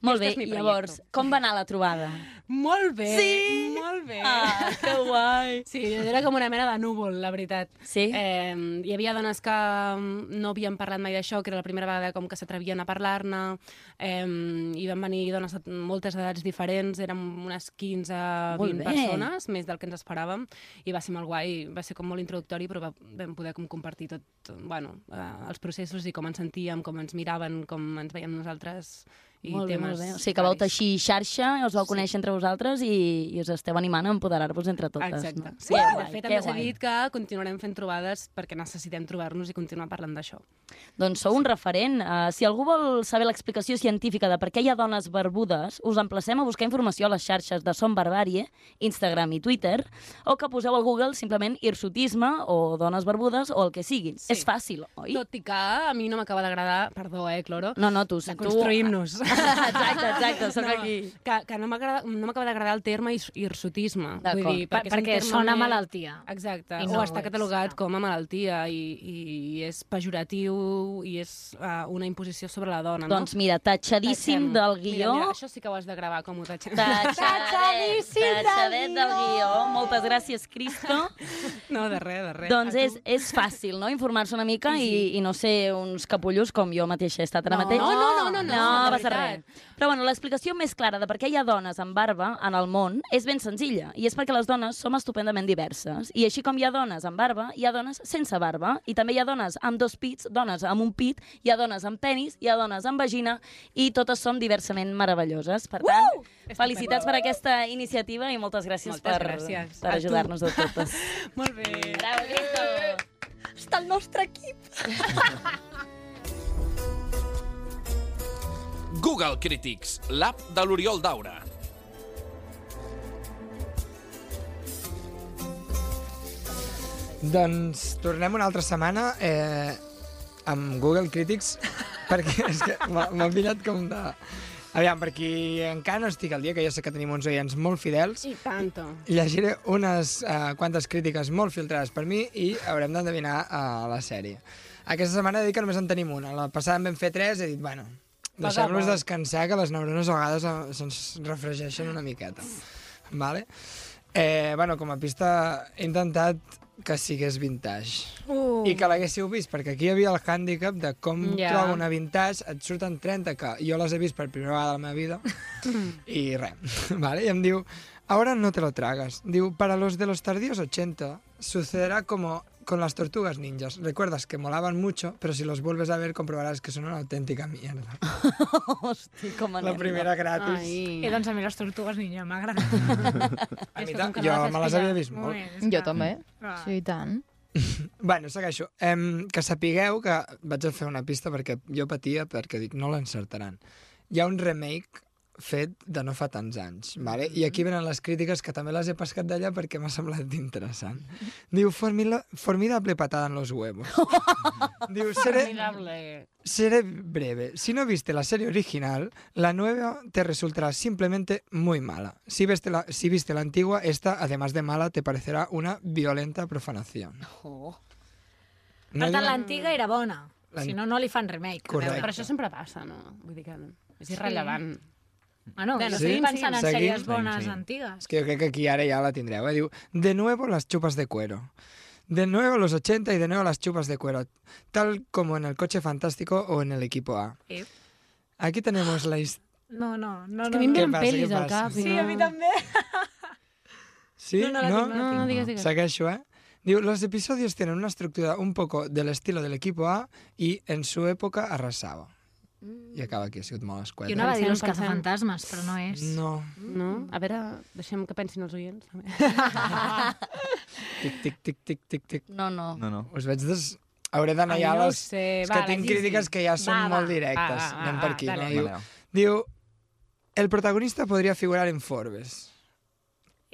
S1: Molt
S8: Este
S1: bé,
S8: és mi proyecto.
S1: llavors, com va anar la trobada?
S8: Molt bé,
S1: Sí!
S8: molt bé.
S1: Ah, que guai.
S8: Sí, era com una mena de núvol, la veritat.
S1: Sí?
S8: Eh, hi havia dones que mm, no havien parlat mai d'això, que era la primera vegada com que s'atrevien a parlar-ne, eh, i van venir dones de moltes edats diferents, érem unes 15,
S1: Molt bé.
S8: 20 persones, més del que ens esperàvem, i va ser molt guai, va ser com molt introductori, però va, vam poder com compartir tot, bueno, eh, els processos i com ens sentíem, com ens miraven, com ens veiem nosaltres, i
S1: molt bé,
S8: temes...
S1: molt bé. O sigui que vau teixir xarxa, us vau conèixer entre vosaltres i, i us esteu animant a empoderar-vos entre totes.
S8: Exacte.
S1: No?
S8: Sí,
S1: Que
S8: de
S1: guai,
S8: fet,
S1: que
S8: també s'ha
S1: guai.
S8: dit que continuarem fent trobades perquè necessitem trobar-nos i continuar parlant d'això.
S1: Doncs sou un referent. Uh, si algú vol saber l'explicació científica de per què hi ha dones barbudes, us emplacem a buscar informació a les xarxes de Som Barbàrie, Instagram i Twitter, o que poseu al Google simplement hirsutisme o dones barbudes o el que sigui. Sí. És fàcil, oi?
S8: Tot i que a mi no m'acaba d'agradar, perdó, eh, Cloro,
S1: No, no, tu... tu...
S8: construïm-nos.
S1: exacte, exacte, sóc
S8: No,
S1: aquí.
S8: que, que no m'agrada no m'acaba d'agradar el terme is- hirsutisme. Vull
S7: D'acord.
S8: dir,
S7: Per-
S8: és un
S7: perquè
S8: terme
S7: sona a
S8: més-
S7: malaltia.
S8: Exacte.
S7: I
S8: No
S7: no
S8: o
S7: ho
S8: està
S7: és,
S8: catalogat com a malaltia i, i és pejoratiu i és uh, una imposició sobre la dona.
S1: Doncs
S8: no?
S1: mira, tatxadíssim del guió.
S8: Mira, mira, això sí que ho has de gravar com ho tatxem.
S1: Tatxadet, tatxadet del guió. Moltes gràcies, Cristo.
S14: No, de res, de res.
S1: Doncs és, és fàcil, no?, informar-se una mica i, i no ser uns capullos com jo mateixa he estat ara
S14: No,
S1: mateix.
S14: no, no, no, no,
S1: no,
S14: de
S1: va ser
S14: veritat.
S1: res. Però, bueno, l'explicació més clara de per què hi ha dones amb barba en el món és ben senzilla, i és perquè les dones som estupendament diverses. I així com hi ha dones amb barba, hi ha dones sense barba, i també hi ha dones amb dos pits, dones amb un pit, hi ha dones amb penis, hi ha dones amb vagina, i totes són diversament meravelloses. Per tant, felicitats per aquesta iniciativa i moltes gràcies
S14: Moltes
S1: per,
S14: gràcies. A
S1: per
S14: tu.
S1: ajudar-nos a totes.
S14: Molt bé.
S1: Bravo, Cristo.
S15: Està el nostre equip.
S10: Google Critics, l'app de l'Oriol Daura.
S8: Doncs tornem una altra setmana eh, amb Google Critics, perquè és que m'ha m'ha pillat com de... Aviam, per qui encara no estic al dia, que ja sé que tenim uns oients molt fidels,
S14: I tanto.
S8: llegiré unes eh, quantes crítiques molt filtrades per mi i haurem d'endevinar eh, la sèrie. Aquesta setmana he dit que només en tenim una. La passada en vam fer tres i he dit, bueno, deixem-los
S16: Vagabond.
S8: descansar, que les neurones a vegades eh, se'ns refregeixen una miqueta. Vale? Eh, bueno, com a pista he intentat que sigués vintage.
S15: Uh.
S8: I que l'haguéssiu vist, perquè aquí hi havia el hàndicap de com
S15: Ja.
S8: yeah. trobo una vintage, et surten 30, que jo les he vist per primera vegada a la meva vida, i res. Vale? I em diu, ahora no te lo tragas. Diu, para los de los tardíos 80, sucederá como con las tortugas ninjas. Recuerdas que molaban mucho, pero si los vuelves a ver comprobarás que son una auténtica mierda.
S1: Hosti, com
S8: La primera gratis.
S7: I doncs a mi les tortugues, niña, m'agraden. a
S8: mi tant, jo me les havia vist molt.
S9: Jo també.
S7: Ah.
S9: Sí, i tant.
S8: Bueno, segueixo. Em, que sapigueu que vaig a fer una pista perquè jo patia perquè dic no l'encertaran. Hi ha un remake fet de no fa tants anys, vale? i aquí venen les crítiques que també les he pescat d'allà perquè m'ha semblat interessant. Diu, formila, formidable patada en los huevos. Diu, seré,
S14: Formidable.
S8: seré breve. Si no viste la serie original, la nueva te resultará simplemente muy mala. Si, viste la, si viste la antigua, esta, además de mala, te parecerá una violenta profanación.
S1: Oh.
S8: No
S7: Per tant,
S8: hi ha-
S7: l'antiga era bona.
S8: L'an-
S7: Si no, no li fan remake.
S8: Correcte.
S14: Però això sempre passa, no? Vull dir que és
S7: Sí.
S14: irrellevant.
S7: Bueno,
S14: Bueno,
S7: jo
S8: sí,
S7: estic pensant en
S8: seguim.
S7: sèries
S8: Seguim,
S7: bones
S8: seguim.
S7: antigues.
S8: Es que yo creo que aquí ahora ya la tendré. Digo, de nuevo las chupas de cuero. De nuevo los 80 y de nuevo las chupas de cuero. Tal como en el coche fantástico o en el equipo A.
S7: Eh.
S8: Aquí tenemos la his-
S7: No, no, no.
S14: És que a
S7: no,
S14: mi em
S7: no.
S14: venen
S8: Què passa, què
S14: pel·lis al
S8: passa?
S14: cap. i
S7: Sí,
S14: no...
S7: a mi també.
S8: ¿Sí?
S14: No, no la
S8: ¿No?
S14: tengo, no la No, no, tengo. digas, digas.
S8: Segueixo, eh? Digo, los episodios tienen una estructura un poco del estilo del equipo A y en su época arrasaba. Y acaba aquí, ha sigut molt escueta.
S7: Jo anava a dir
S14: Pensem,
S7: els
S14: pensem.
S7: cazafantasmes, però no és.
S8: No.
S14: No? A veure, deixem que pensin els oients. també.
S8: Tic, tic, tic, tic, tic, tic.
S1: No, no.
S11: No, no.
S8: Us veig des... Hauré d'anar
S14: Ai,
S8: ja
S14: no
S8: a
S14: ho
S8: les...
S14: sé.
S8: És
S14: Va,
S8: que
S14: la
S8: tinc
S14: Gigi.
S8: crítiques que ja són
S14: Va, va. Ah,
S8: molt directes.
S14: Va, va,
S8: Anem
S14: va,
S8: per aquí,
S14: dale.
S8: no? Diu,
S14: Vale.
S8: diu, el protagonista podria figurar en Forbes.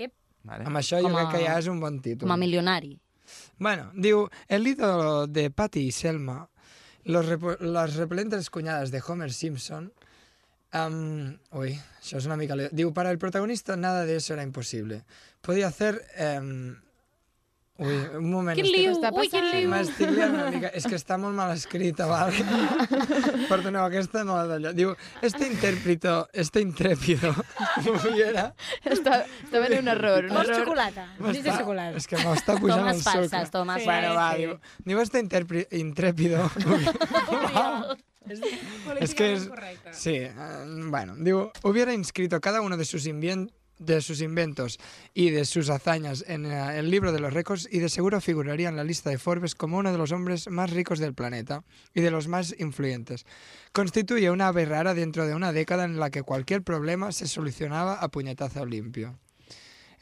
S7: Ep.
S11: Vale.
S8: Amb això
S1: Com
S8: jo
S1: a-
S8: crec que ja és un bon títol.
S1: Com a milionari.
S8: Bueno, diu, el ídolo de Patty y Selma, los repo- las repelentes cuñadas de Homer Simpson... am, uy, això és una mica... leo- Diu, para el protagonista nada de eso era imposible. Podía hacer... em, Ui, un moment.
S14: Quin
S8: estic-
S14: liu, ui, quin liu.
S8: M'estic liant una mica. És que està molt mal escrita, val? Perdoneu, aquesta no la d'allò. Diu, este intérprito, este intrépido, Mollera...
S9: Està, està venint un error, un
S7: Vols
S9: error.
S7: xocolata? Dins de
S8: M'està-
S7: xocolata.
S8: És que m'està pujant
S1: Tomes
S8: el sucre.
S1: falses, tomes
S8: sí,
S1: falses,
S8: Bueno, va,
S1: sí.
S8: diu, diu este intérpri- intrépido. es que es... Sí, eh, bueno, digo, hubiera inscrito cada uno de sus invien- de sus inventos y de sus hazañas en eh, el libro de los récords y de seguro figuraría en la lista de Forbes como uno de los hombres más ricos del planeta y de los más influyentes. Constituye una ave rara dentro de una década en la que cualquier problema se solucionaba a puñetazo limpio.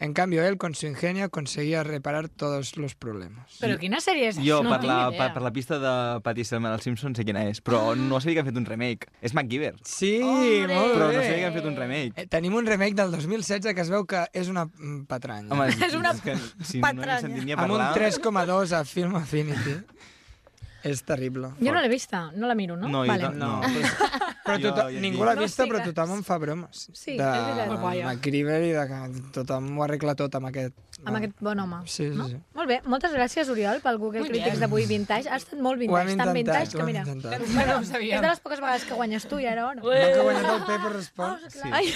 S8: En cambio, él con su ingenio conseguía reparar todos los problemas.
S7: Però quina sèrie és?
S11: Jo,
S7: no
S11: per, la,
S7: tinc
S11: per,
S7: idea.
S11: per la pista de Patty Selma dels Simpsons sé quina és, però no sabia que han fet un remake. És MacGyver.
S8: Sí, molt
S11: Però no
S8: bé.
S11: sabia que han fet un remake.
S8: Eh, Tenim un remake del 2016 que es veu que és una mm, petranya.
S11: Home, és una que, si no n'he sentit ni a
S8: amb
S11: parlar...
S8: un 3,2 a Film Affinity. és terrible.
S7: Jo no l'he vista, no la miro, no?
S11: No, jo
S7: vale.
S11: ta- no. no.
S10: Però
S11: Jo
S10: tothom,
S11: ja et
S10: ningú
S11: dic.
S10: l'ha
S11: No,
S10: vista,
S11: sí,
S10: però
S11: que-
S10: tothom em fa bromes.
S7: Sí,
S10: de,
S7: és veritat. Guai, eh?
S10: MacGyver i de que tothom ho arregla tot amb aquest...
S7: Amb aquest bon home.
S10: Sí, sí, sí.
S7: Molt bé, moltes gràcies, Oriol, pel Google
S10: Muy
S7: Critics
S10: bien.
S7: d'avui vintage. Ha estat molt
S10: Ho hem
S7: vintage,
S10: intentat,
S7: tan vintage
S10: ho
S7: que
S10: hem
S7: mira...
S10: intentat.
S7: Bueno,
S10: No ho sabíem.
S7: és de les poques vegades que guanyes tu, i ara ara.
S10: Va que ha guanyat el Pepo respon.
S7: Sí.
S9: Ai,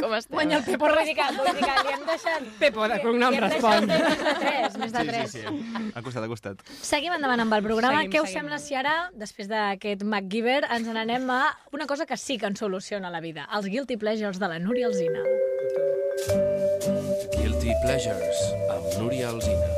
S9: com esteu?
S7: Guanya el Pepo Radical, vull dir que li hem deixat...
S8: Pepo de
S7: li-
S8: cognom
S7: li hem deixat
S8: respon.
S7: Més de tres, més de
S11: Sí,
S7: tres.
S11: sí, sí. Al costat, al costat.
S7: Seguim endavant amb el programa.
S8: Seguim,
S7: Què us
S8: seguim.
S7: sembla si ara, després d'aquest MacGyver, ens n'anem a una cosa que sí que ens soluciona la vida, els guilty pleasures de la Núria Alzina.
S2: Guilty Pleasures, amb Núria Alzina.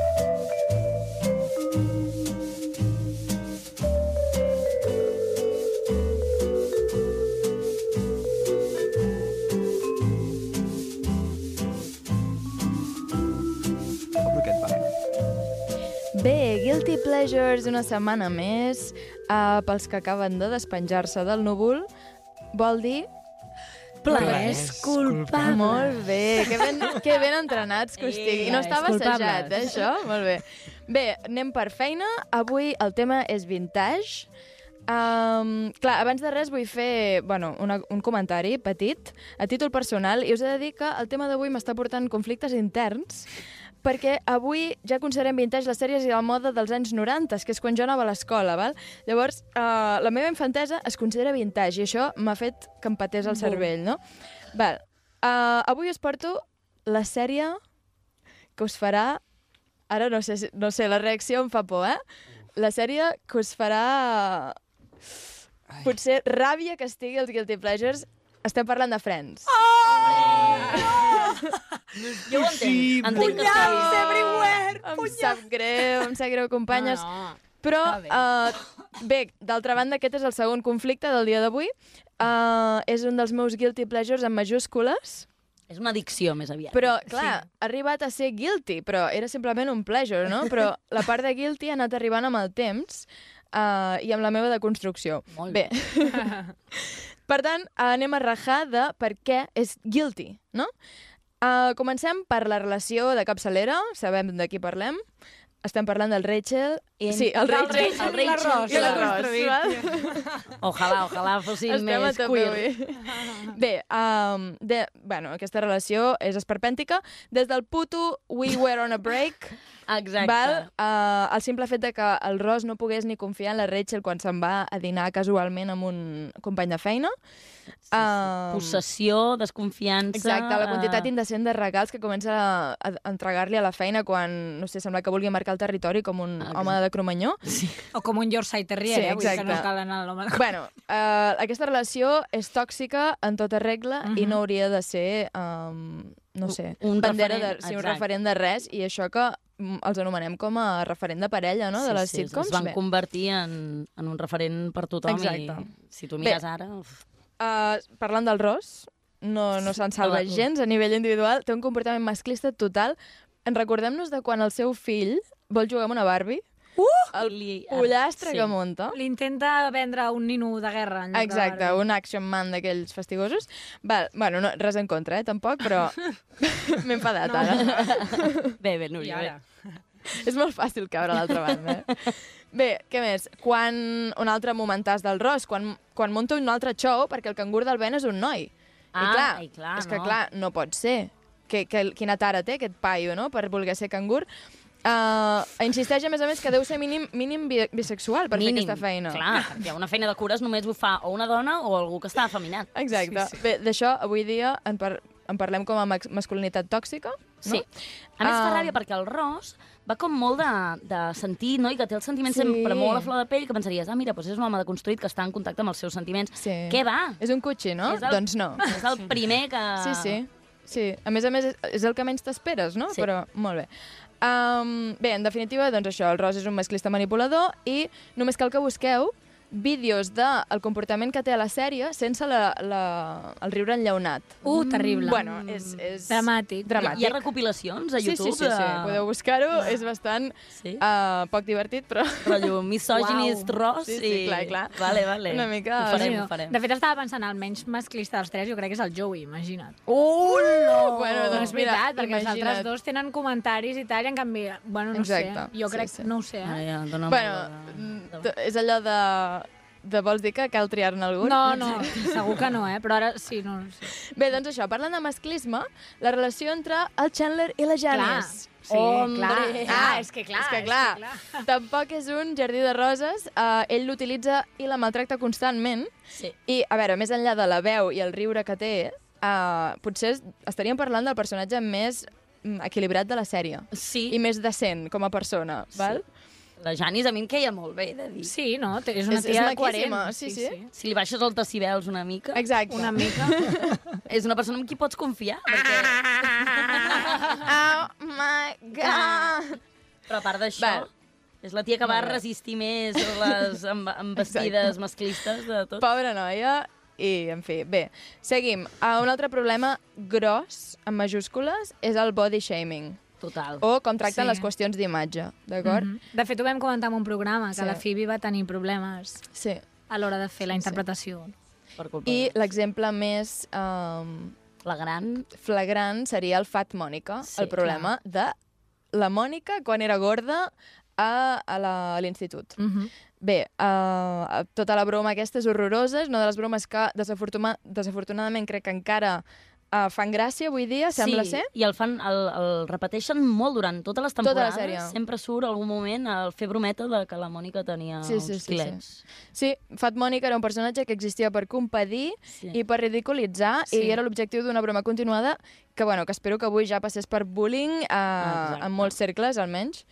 S11: Obro aquest, va.
S9: Bé, Guilty Pleasures una setmana més. Uh, pels que acaben de despenjar-se del núvol, vol dir...
S7: Plaers culpables.
S9: Molt bé, que ben, que ben entrenats que us estic. I no
S7: Plaers
S9: estava assajat, eh,
S7: culpables.
S9: això? Molt bé. Bé, anem per feina. Avui el tema és vintage. Um, clar, abans de res vull fer bueno, una, un comentari petit a títol personal i us he de dir que el tema d'avui m'està portant conflictes interns perquè avui ja considerem vintage les sèries i la moda dels anys 90, que és quan jo anava a l'escola, val? Llavors, uh, la meva infantesa es considera vintage i això m'ha fet que em patés el cervell, no? Val. Uh, avui us porto la sèrie que us farà... Ara no sé, si- no sé, la reacció em fa por, eh? La sèrie que us farà... Potser ràbia que estigui als Guilty Pleasures. Estem parlant de Friends. Oh!
S1: Jo ho entenc. Entenc que
S9: Punyals
S1: estigui...
S9: everywhere! Em sap greu, em sap greu, companyes.
S8: No, no.
S9: Però, uh, bé, d'altra banda, aquest és el segon conflicte del dia d'avui. Uh, és un dels meus guilty pleasures en majúscules.
S1: És una addicció, més aviat.
S9: Però, clar, sí. ha arribat a ser guilty, però era simplement un pleasure, no? Però la part de guilty ha anat arribant amb el temps uh, i amb la meva deconstrucció.
S1: Molt
S9: bé. per tant, anem a rajar de per què és guilty, no? Uh, comencem per la relació de capçalera, sabem de qui parlem. Estem parlant del Rachel...
S1: En-
S9: Sí, el
S1: del
S9: Rachel,
S1: Rachel i l'arròs.
S9: I l'arròs,
S1: Construït.
S9: val?
S1: Ojalà, ojalà fóssim
S9: Estem a
S1: més
S9: tope
S1: queer.
S9: avui. Bé, um, de, bueno, aquesta relació és esperpèntica. Des del puto We Were on a Break,
S1: Exacte.
S9: val? Uh, el simple fet de que el Ross no pogués ni confiar en la Rachel quan se'n va a dinar casualment amb un company de feina. Um,
S1: Possessió, desconfiança...
S9: Exacte, la quantitat
S1: eh,
S9: indecent de regals que comença a, a entregar-li a la feina quan, no sé, sembla que vulgui marcar el territori com un
S1: Ah,
S9: home de Cromanyó. Sí.
S7: O com un Yorkshire Terrier,
S9: Sí,
S7: eh? Vull dir que no
S9: exacte.
S7: cal anar a l'home de...
S9: Bueno, uh, aquesta relació és tòxica en tota regla
S7: Mhm.
S9: i no hauria de ser, um, no sé,
S1: Un
S9: bandera
S1: referent,
S9: de, sí, un
S1: exacte.
S9: referent de res i això que mm, els anomenem com a referent de parella, no?, de les
S1: sí,
S9: sitcoms.
S1: Es van
S9: Bé.
S1: convertir en, en un referent per tothom
S9: Exacte.
S1: i si tu mires
S9: Bé.
S1: ara... Uf,
S9: Uh, parlant del Ross, no, no se'n salva
S1: Hola.
S9: gens a nivell individual, té un comportament masclista total. En recordem-nos de quan el seu fill vol jugar amb una Barbie, el
S1: li-
S9: pollastre
S1: sí.
S9: que munta.
S7: L'intenta vendre un nino de guerra. En lloc
S9: Exacte,
S7: de...
S9: un action man d'aquells fastigosos. Val, bueno, no, res en contra, eh, tampoc, però m'he enfadat ara.
S1: bé, bé,
S8: I
S1: Núria,
S8: ara?
S1: bé.
S9: És molt fàcil caure a l'altra banda. eh? Bé, què més? Quan un altre momentàs del Ross, quan, quan munta un altre xou, perquè el cangur del Ben és un noi.
S1: Ah,
S9: I clar,
S1: ai, clar,
S9: és que
S1: no.
S9: clar, no pot ser. Que, que, quina tara té aquest paio, no?, per voler ser cangur. Uh, insisteix, a més a més, que deu ser mínim, mínim bi bisexual per
S1: Mínim,
S9: fer aquesta feina.
S1: Clar, perquè una feina de cures només ho fa o una dona o algú que està afeminat.
S9: Eh, Exacte. Sí, sí. Bé, d'això avui dia en, par en parlem com a max- masculinitat tòxica,
S1: Sí.
S9: no?
S1: A més, fa
S9: Ah.
S1: ràbia perquè el Ross va com molt de, de sentir, no?, i que té els sentiments
S9: Sí.
S1: sí. sempre molt a flor de pell, que pensaries, ah, mira, doncs és un home deconstruït que està en contacte amb els seus sentiments.
S9: Sí.
S1: Què va?
S9: És un cotxe, no?
S1: És el-
S9: Doncs no.
S1: És el primer que...
S7: Ah.
S9: Sí, sí. Sí, a més a més és- és el que menys t'esperes, no?
S1: Sí.
S9: Però molt bé. Um, bé, en definitiva, doncs això, el Ros és un masclista manipulador i només cal que busqueu vídeos del de el comportament que té a la sèrie sense la, la, el riure enllaunat.
S7: Uh, terrible.
S9: Bueno, és, és
S7: Dramàtic.
S9: dramàtic.
S1: Hi ha recopilacions a YouTube?
S9: Sí, sí, sí, sí.
S1: de-
S9: podeu buscar-ho,
S7: Ah.
S9: és bastant
S1: Sí?
S9: uh, poc divertit, però...
S1: rotllo misòginist
S7: Uau.
S1: ros
S9: Sí, sí,
S1: i...
S9: clar, clar.
S1: Vale, vale.
S9: Una mica-
S1: Ho farem,
S7: no.
S1: ho farem.
S7: De fet, estava pensant, el menys masclista dels tres, jo crec que és el Joey, imagina't.
S1: Hola!
S9: Bueno,
S7: No,
S9: doncs
S7: és veritat,
S9: mira,
S7: perquè els altres
S9: imagina't.
S7: dos tenen comentaris i tal, i en canvi, bueno, no
S9: Exacte,
S7: sé. Jo
S9: sí,
S7: crec,
S1: Ah,
S9: sí.
S7: no ho sé, eh?
S1: Ai, ja, dóna'm
S9: Bueno, mm, t- és allò de... De vols dir que cal triar-ne algun?
S7: No, no, segur que no, eh? Però ara sí, no, no sé.
S9: Bé, doncs això, parlant de masclisme, la relació entre el Chandler i la Janice.
S7: Sí, Hombre. clar. Ah, és que clar,
S9: és que clar. Tampoc és un jardí de roses. Uh, ell l'utilitza i la maltracta constantment.
S1: Sí.
S9: I, a veure, més enllà de la veu i el riure que té, uh, potser es- estaríem parlant del personatge més mm, equilibrat de la sèrie.
S1: Sí.
S9: I més decent com a persona, sí. val?
S1: La Janis a mi em queia molt bé, he de dir.
S7: Sí, no?
S9: és una És- és tia maquíssima, coherent. sí, sí.
S1: Si li baixes el decibels una mica...
S9: Exacte.
S7: Una mica.
S1: és una persona en qui pots confiar. Perquè...
S9: Ah. oh my god!
S1: Però a part d'això... És la tia que va
S9: Molt bé.
S1: resistir més les amb- embestides masclistes de tot.
S9: Pobra noia, i en fi, bé. Seguim. Uh, un altre problema gros, amb majúscules, és el body shaming.
S1: Total.
S9: O com tracten
S7: Sí.
S9: sí. les qüestions d'imatge, d'acord?
S7: Mhm. De fet, ho vam comentar en un programa, que
S9: Sí.
S7: la Phoebe va tenir problemes
S9: sí.
S7: a l'hora de fer la interpretació.
S1: Per culpa
S9: I l'exemple més... Um,
S1: flagrant.
S9: Flagrant seria el Fat Mònica,
S1: Sí,
S9: el problema de la Mònica quan era gorda a, a la- a l'institut.
S7: Mhm.
S9: Bé, uh, tota la broma aquesta és horrorosa, és una de les bromes que desafortuna desafortunadament crec que encara uh, fan gràcia avui dia, sembla
S1: sí,
S9: ser.
S1: i el, fan, el, el repeteixen molt durant totes les
S9: Tota la
S1: temporades.
S9: sèrie.
S1: Sempre surt algun moment el fer brometa de que la Mònica tenia
S9: Sí, sí,
S1: uns
S9: sí,
S1: quilets.
S9: sí. Sí, Fat Mònica era un personatge que existia per competir sí. i per ridiculitzar sí.
S1: Sí.
S9: i era l'objectiu d'una broma continuada que, bueno, que espero que avui ja passés per bullying eh,
S1: Exacte.
S9: en molts cercles, almenys.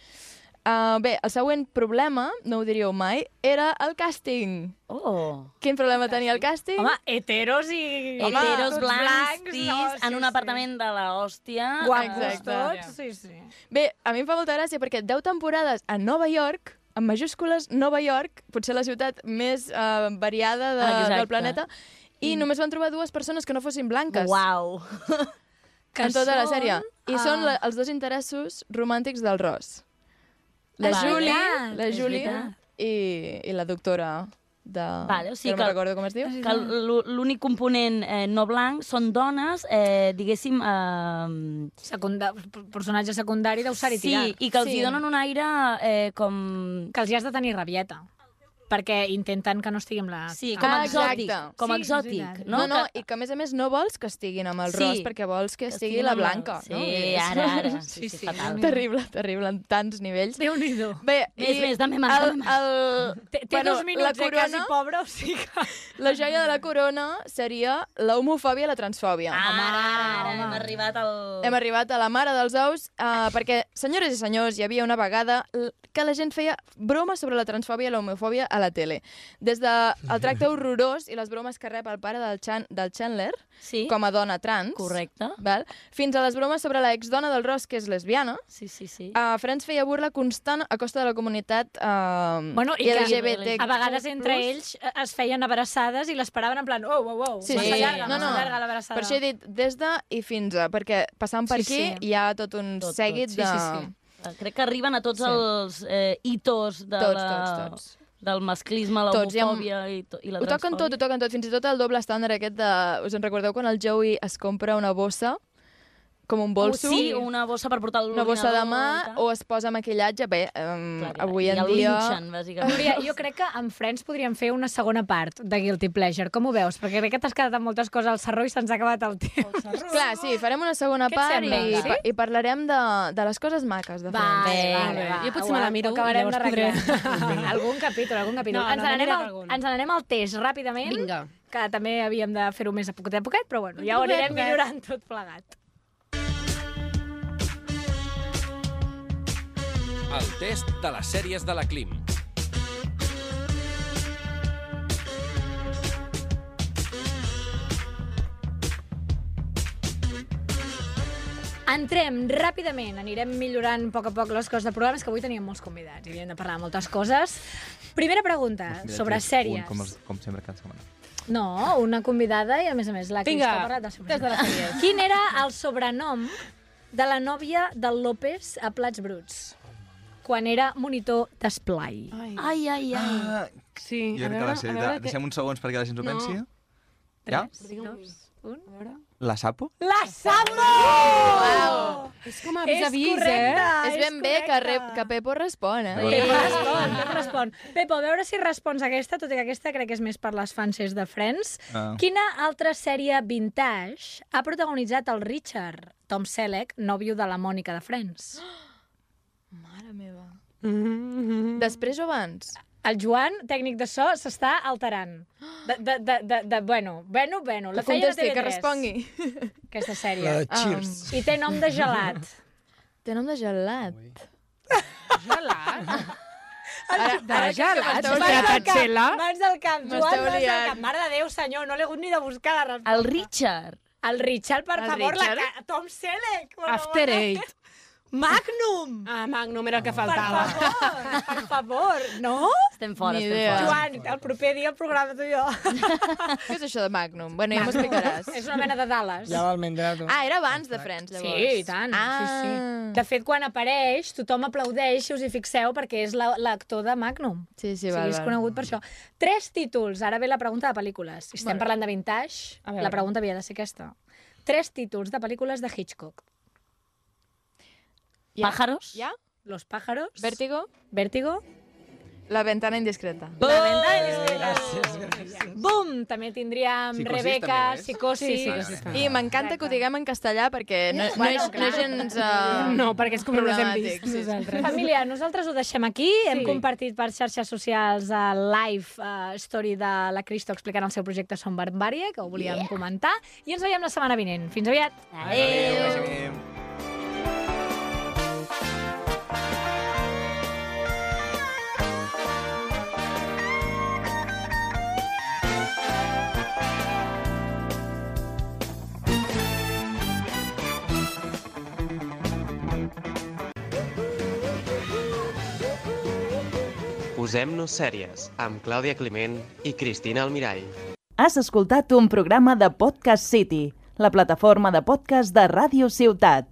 S9: Uh, bé, el següent problema, no ho diríeu mai, era el càsting.
S1: Oh.
S9: Quin problema tenia el càsting?
S7: Home, heteros i...
S1: Heteros blancs,
S7: tots blancs,
S1: tis,
S7: no,
S1: en un apartament de la hòstia.
S9: Guapos
S7: Tots, sí, sí.
S9: Bé, a mi em fa molta gràcia perquè 10 temporades a Nova York, en majúscules, Nova York, potser la ciutat més uh, variada de,
S1: Ah, Exacte. Mm.
S9: del planeta, i només van trobar dues persones que no fossin blanques.
S1: Uau.
S9: que en tota la sèrie. I
S7: ah.
S9: són la, els dos interessos romàntics del Ross. La
S1: Vale.
S9: Julie,
S1: Veritat,
S9: la
S1: Ah, és
S9: Julie
S1: veritat.
S9: i, i la doctora de...
S1: Vale, o sigui
S9: que no
S1: que-
S9: me'n recordo com es diu.
S1: que l'ú- l'únic component eh, no blanc són dones, eh, diguéssim... Eh,
S7: Secunda... Personatge secundari deu ser-hi
S1: sí,
S7: tirat.
S1: i que els sí. hi donen un aire eh, com...
S7: Que els hi has de tenir rabieta, perquè intenten que no estigui amb la...
S1: Sí, com
S9: Ah,
S1: exòtic,
S9: exacte.
S1: com
S7: Sí, és
S1: exòtic,
S7: veritat.
S1: no?
S9: No, no,
S1: Que-
S9: i que a més a més no vols que estiguin amb el
S1: Sí.
S9: Ross perquè vols que, estigui
S1: estiguin
S9: la
S1: amb la-
S9: Blanca.
S1: Sí,
S9: no? És-
S1: ara, ara. Sí, sí, fatal.
S9: Terrible, terrible, en tants nivells.
S7: Déu-n'hi-do.
S9: Bé,
S1: Més,
S9: i
S1: més, dame más,
S9: el-
S1: dame más.
S9: el-
S7: Té, té
S9: bueno,
S7: dos minuts,
S9: la corona,
S7: eh, quasi, pobre, o sigui que...
S9: La joia de la corona seria la homofòbia i la transfòbia.
S1: Ah, Ara, ara, hem arribat al...
S9: Hem arribat a la mare dels ous eh, perquè, senyores i senyors, hi havia una vegada l- que la gent feia bromes sobre la transfòbia i la homofòbia a la tele. Des del el tracte horrorós i les bromes que rep el pare del, Chan, del Chandler
S1: Sí.
S9: com a dona trans,
S1: Correcte.
S9: val? fins a les bromes sobre la exdona del Ross, que és lesbiana,
S1: Sí, sí, sí.
S9: Uh, Franz feia burla constant a costa de la comunitat uh,
S7: Mm. Bueno, i
S9: LGBT.
S7: que a vegades entre ells eh, es feien abraçades i l'esperaven en plan, oh, oh, oh,
S9: Sí,
S7: massa
S9: sí.
S7: llarga,
S9: No,
S7: massa
S9: no.
S7: llarga l'abraçada.
S9: Per això he dit des de i fins a, perquè passant per
S7: Sí,
S9: aquí
S7: sí.
S9: hi ha tot un tot, seguit
S7: Sí,
S9: de...
S7: sí, sí.
S1: Eh, Crec que arriben a tots
S9: Sí.
S1: els eh, hitos de
S9: Tots,
S1: la...
S9: tots, tots.
S1: del masclisme, la
S9: Tots, hi ha-
S1: homofòbia i, to... i la
S9: Ho toquen tot, ho toquen tot, fins i tot el doble estàndard aquest de... Us en recordeu quan el Joey es compra una bossa? Com
S7: Uh,
S9: un bolso?
S1: Oh, sí, una bossa per portar
S9: una
S1: l'ordinador.
S9: bossa de mà
S1: i tal.
S9: o es posa maquillatge. Bé, um,
S1: Clar, clar,
S9: avui
S1: i
S9: en
S1: el
S9: dia...
S1: linxen, bàsicament.
S7: Núria, jo crec que amb Friends podríem fer una segona part de Guilty Pleasure. Com ho veus? Perquè crec que t'has quedat amb moltes coses al sarró i se'ns ha acabat el temps.
S9: Clar, sí, farem una segona
S7: Què et
S9: part i,
S7: sembla? Sí?
S9: pa- i parlarem de, de les coses maques de Friends.
S8: Jo potser me la miro i
S7: acabarem
S8: llavors
S7: d'arreglar.
S8: podrem.
S7: algun capítol, algun capítol.
S8: No,
S7: ens,
S8: no,
S7: n'anem
S8: n'anirem
S7: al,
S8: algun.
S7: ens n'anem al test ràpidament,
S8: Vinga.
S7: que també havíem de fer-ho més a poquet a poquet, però bueno, ja ho
S8: Poquet,
S7: anirem
S8: poquet.
S7: millorant tot plegat.
S2: El test de les sèries de la Clim.
S7: Entrem ràpidament, anirem millorant a poc a poc les coses de programes, que avui teníem molts convidats i havíem de parlar de moltes coses. Primera pregunta, sobre
S11: Un,
S7: sèries.
S11: com, els, com sempre cada setmana.
S7: No, una convidada i, a més a més, la Cris
S8: Vinga,
S7: que ha parlat de
S8: des de les
S7: sobrenom. Quin era el sobrenom de la nòvia del López a Plats Bruts? quan era monitor d'esplai.
S1: Ai, ai, ai.
S11: Ah,
S8: sí,
S11: Jo crec que la sèrie... De... Deixem uns segons perquè la gent s'ho
S8: No.
S11: pensi. Ja?
S8: Dos, un. A veure...
S11: La Sapo?
S7: La Sapo!
S8: És com a
S7: És
S8: vis a vis,
S7: correcte,
S8: eh?
S9: Ah, És ben bé que, rep, que Pepo respon, eh?
S7: Sí. Pepo respon, Pepo respon. Pepo, a veure si respons aquesta, tot i que aquesta crec que és més per les fanses de Friends.
S9: Ah.
S7: Quina altra sèrie vintage ha protagonitzat el Richard, Tom Selleck, nòvio de la Mònica de Friends?
S9: Mare meva. Després o abans?
S7: El Joan, tècnic de so, s'està alterant. De, de, de, de, de, bueno, bueno, bueno. La
S9: Que
S7: feina
S9: contesti,
S7: de TV3.
S9: que respongui.
S7: Aquesta sèrie.
S9: La de Cheers.
S7: Ah. I té nom de gelat.
S9: Té nom de gelat.
S7: Gelat?
S9: Ara- ara que m'esteu liant.
S7: Mans del camp, Joan,
S9: M'esteu
S7: mans del
S9: liant.
S7: camp. Mare de Déu, senyor, no l'he hagut ni de buscar la resposta.
S1: El Richard.
S7: El Richard, per
S8: El
S7: favor,
S8: Richard?
S7: la ca... Tom Selleck. per
S8: After
S7: favor.
S8: Eight.
S7: Magnum!
S8: Ah, Magnum era el que faltava.
S7: Per favor, no?
S1: Estem
S9: fora, Ni estem idea. fora.
S7: Joan, el proper dia el programa tu i jo.
S9: Què és això de Magnum? Bueno, ja m'ho explicaràs.
S7: És una mena de Dallas.
S10: Ja l'almendrado.
S9: Ah, era abans de Friends, llavors.
S7: Sí, i tant. Ah. Sí, sí. De fet, quan apareix, tothom aplaudeix, si us hi fixeu, perquè és la- l'actor de Magnum.
S9: Sí, sí,
S7: o
S9: val,
S7: sigui, és
S9: val.
S7: conegut per això. Tres títols. Ara ve la pregunta de pel·lícules. Si estem
S9: Molt bé.
S7: parlant de vintage,
S9: A veure.
S7: la pregunta havia de ser aquesta. Tres títols de pel·lícules de Hitchcock.
S9: Ja.
S1: Pájaros.
S9: Ja?
S7: Los pájaros.
S9: Vértigo. Oh!
S7: Vértigo.
S9: La ventana indiscreta.
S7: La venda és Bum! També tindríem
S9: Psicosis
S7: Rebeca,
S9: també ho és.
S7: Psicosis...
S9: Sí, sí, sí, sí. I m'encanta que ho diguem en castellà perquè no, no,
S7: Bueno,
S9: és, no és
S7: clar.
S9: gens... Uh,
S7: No, perquè és com no les hem
S9: problemàtic,
S7: vist
S9: sí, sí.
S7: nosaltres. Família, nosaltres ho deixem aquí. Sí. Hem compartit per xarxes socials el live uh, story de la Cristo explicant el seu projecte Som Barbària, que ho volíem
S13: Yeah.
S7: yeah. comentar. I ens veiem la setmana vinent. Fins aviat.
S13: Adéu. Adéu.
S17: Posem-nos sèries amb Clàudia Climent i Cristina Almirall.
S18: Has escoltat un programa de Podcast City, la plataforma de podcast de Ràdio Ciutat.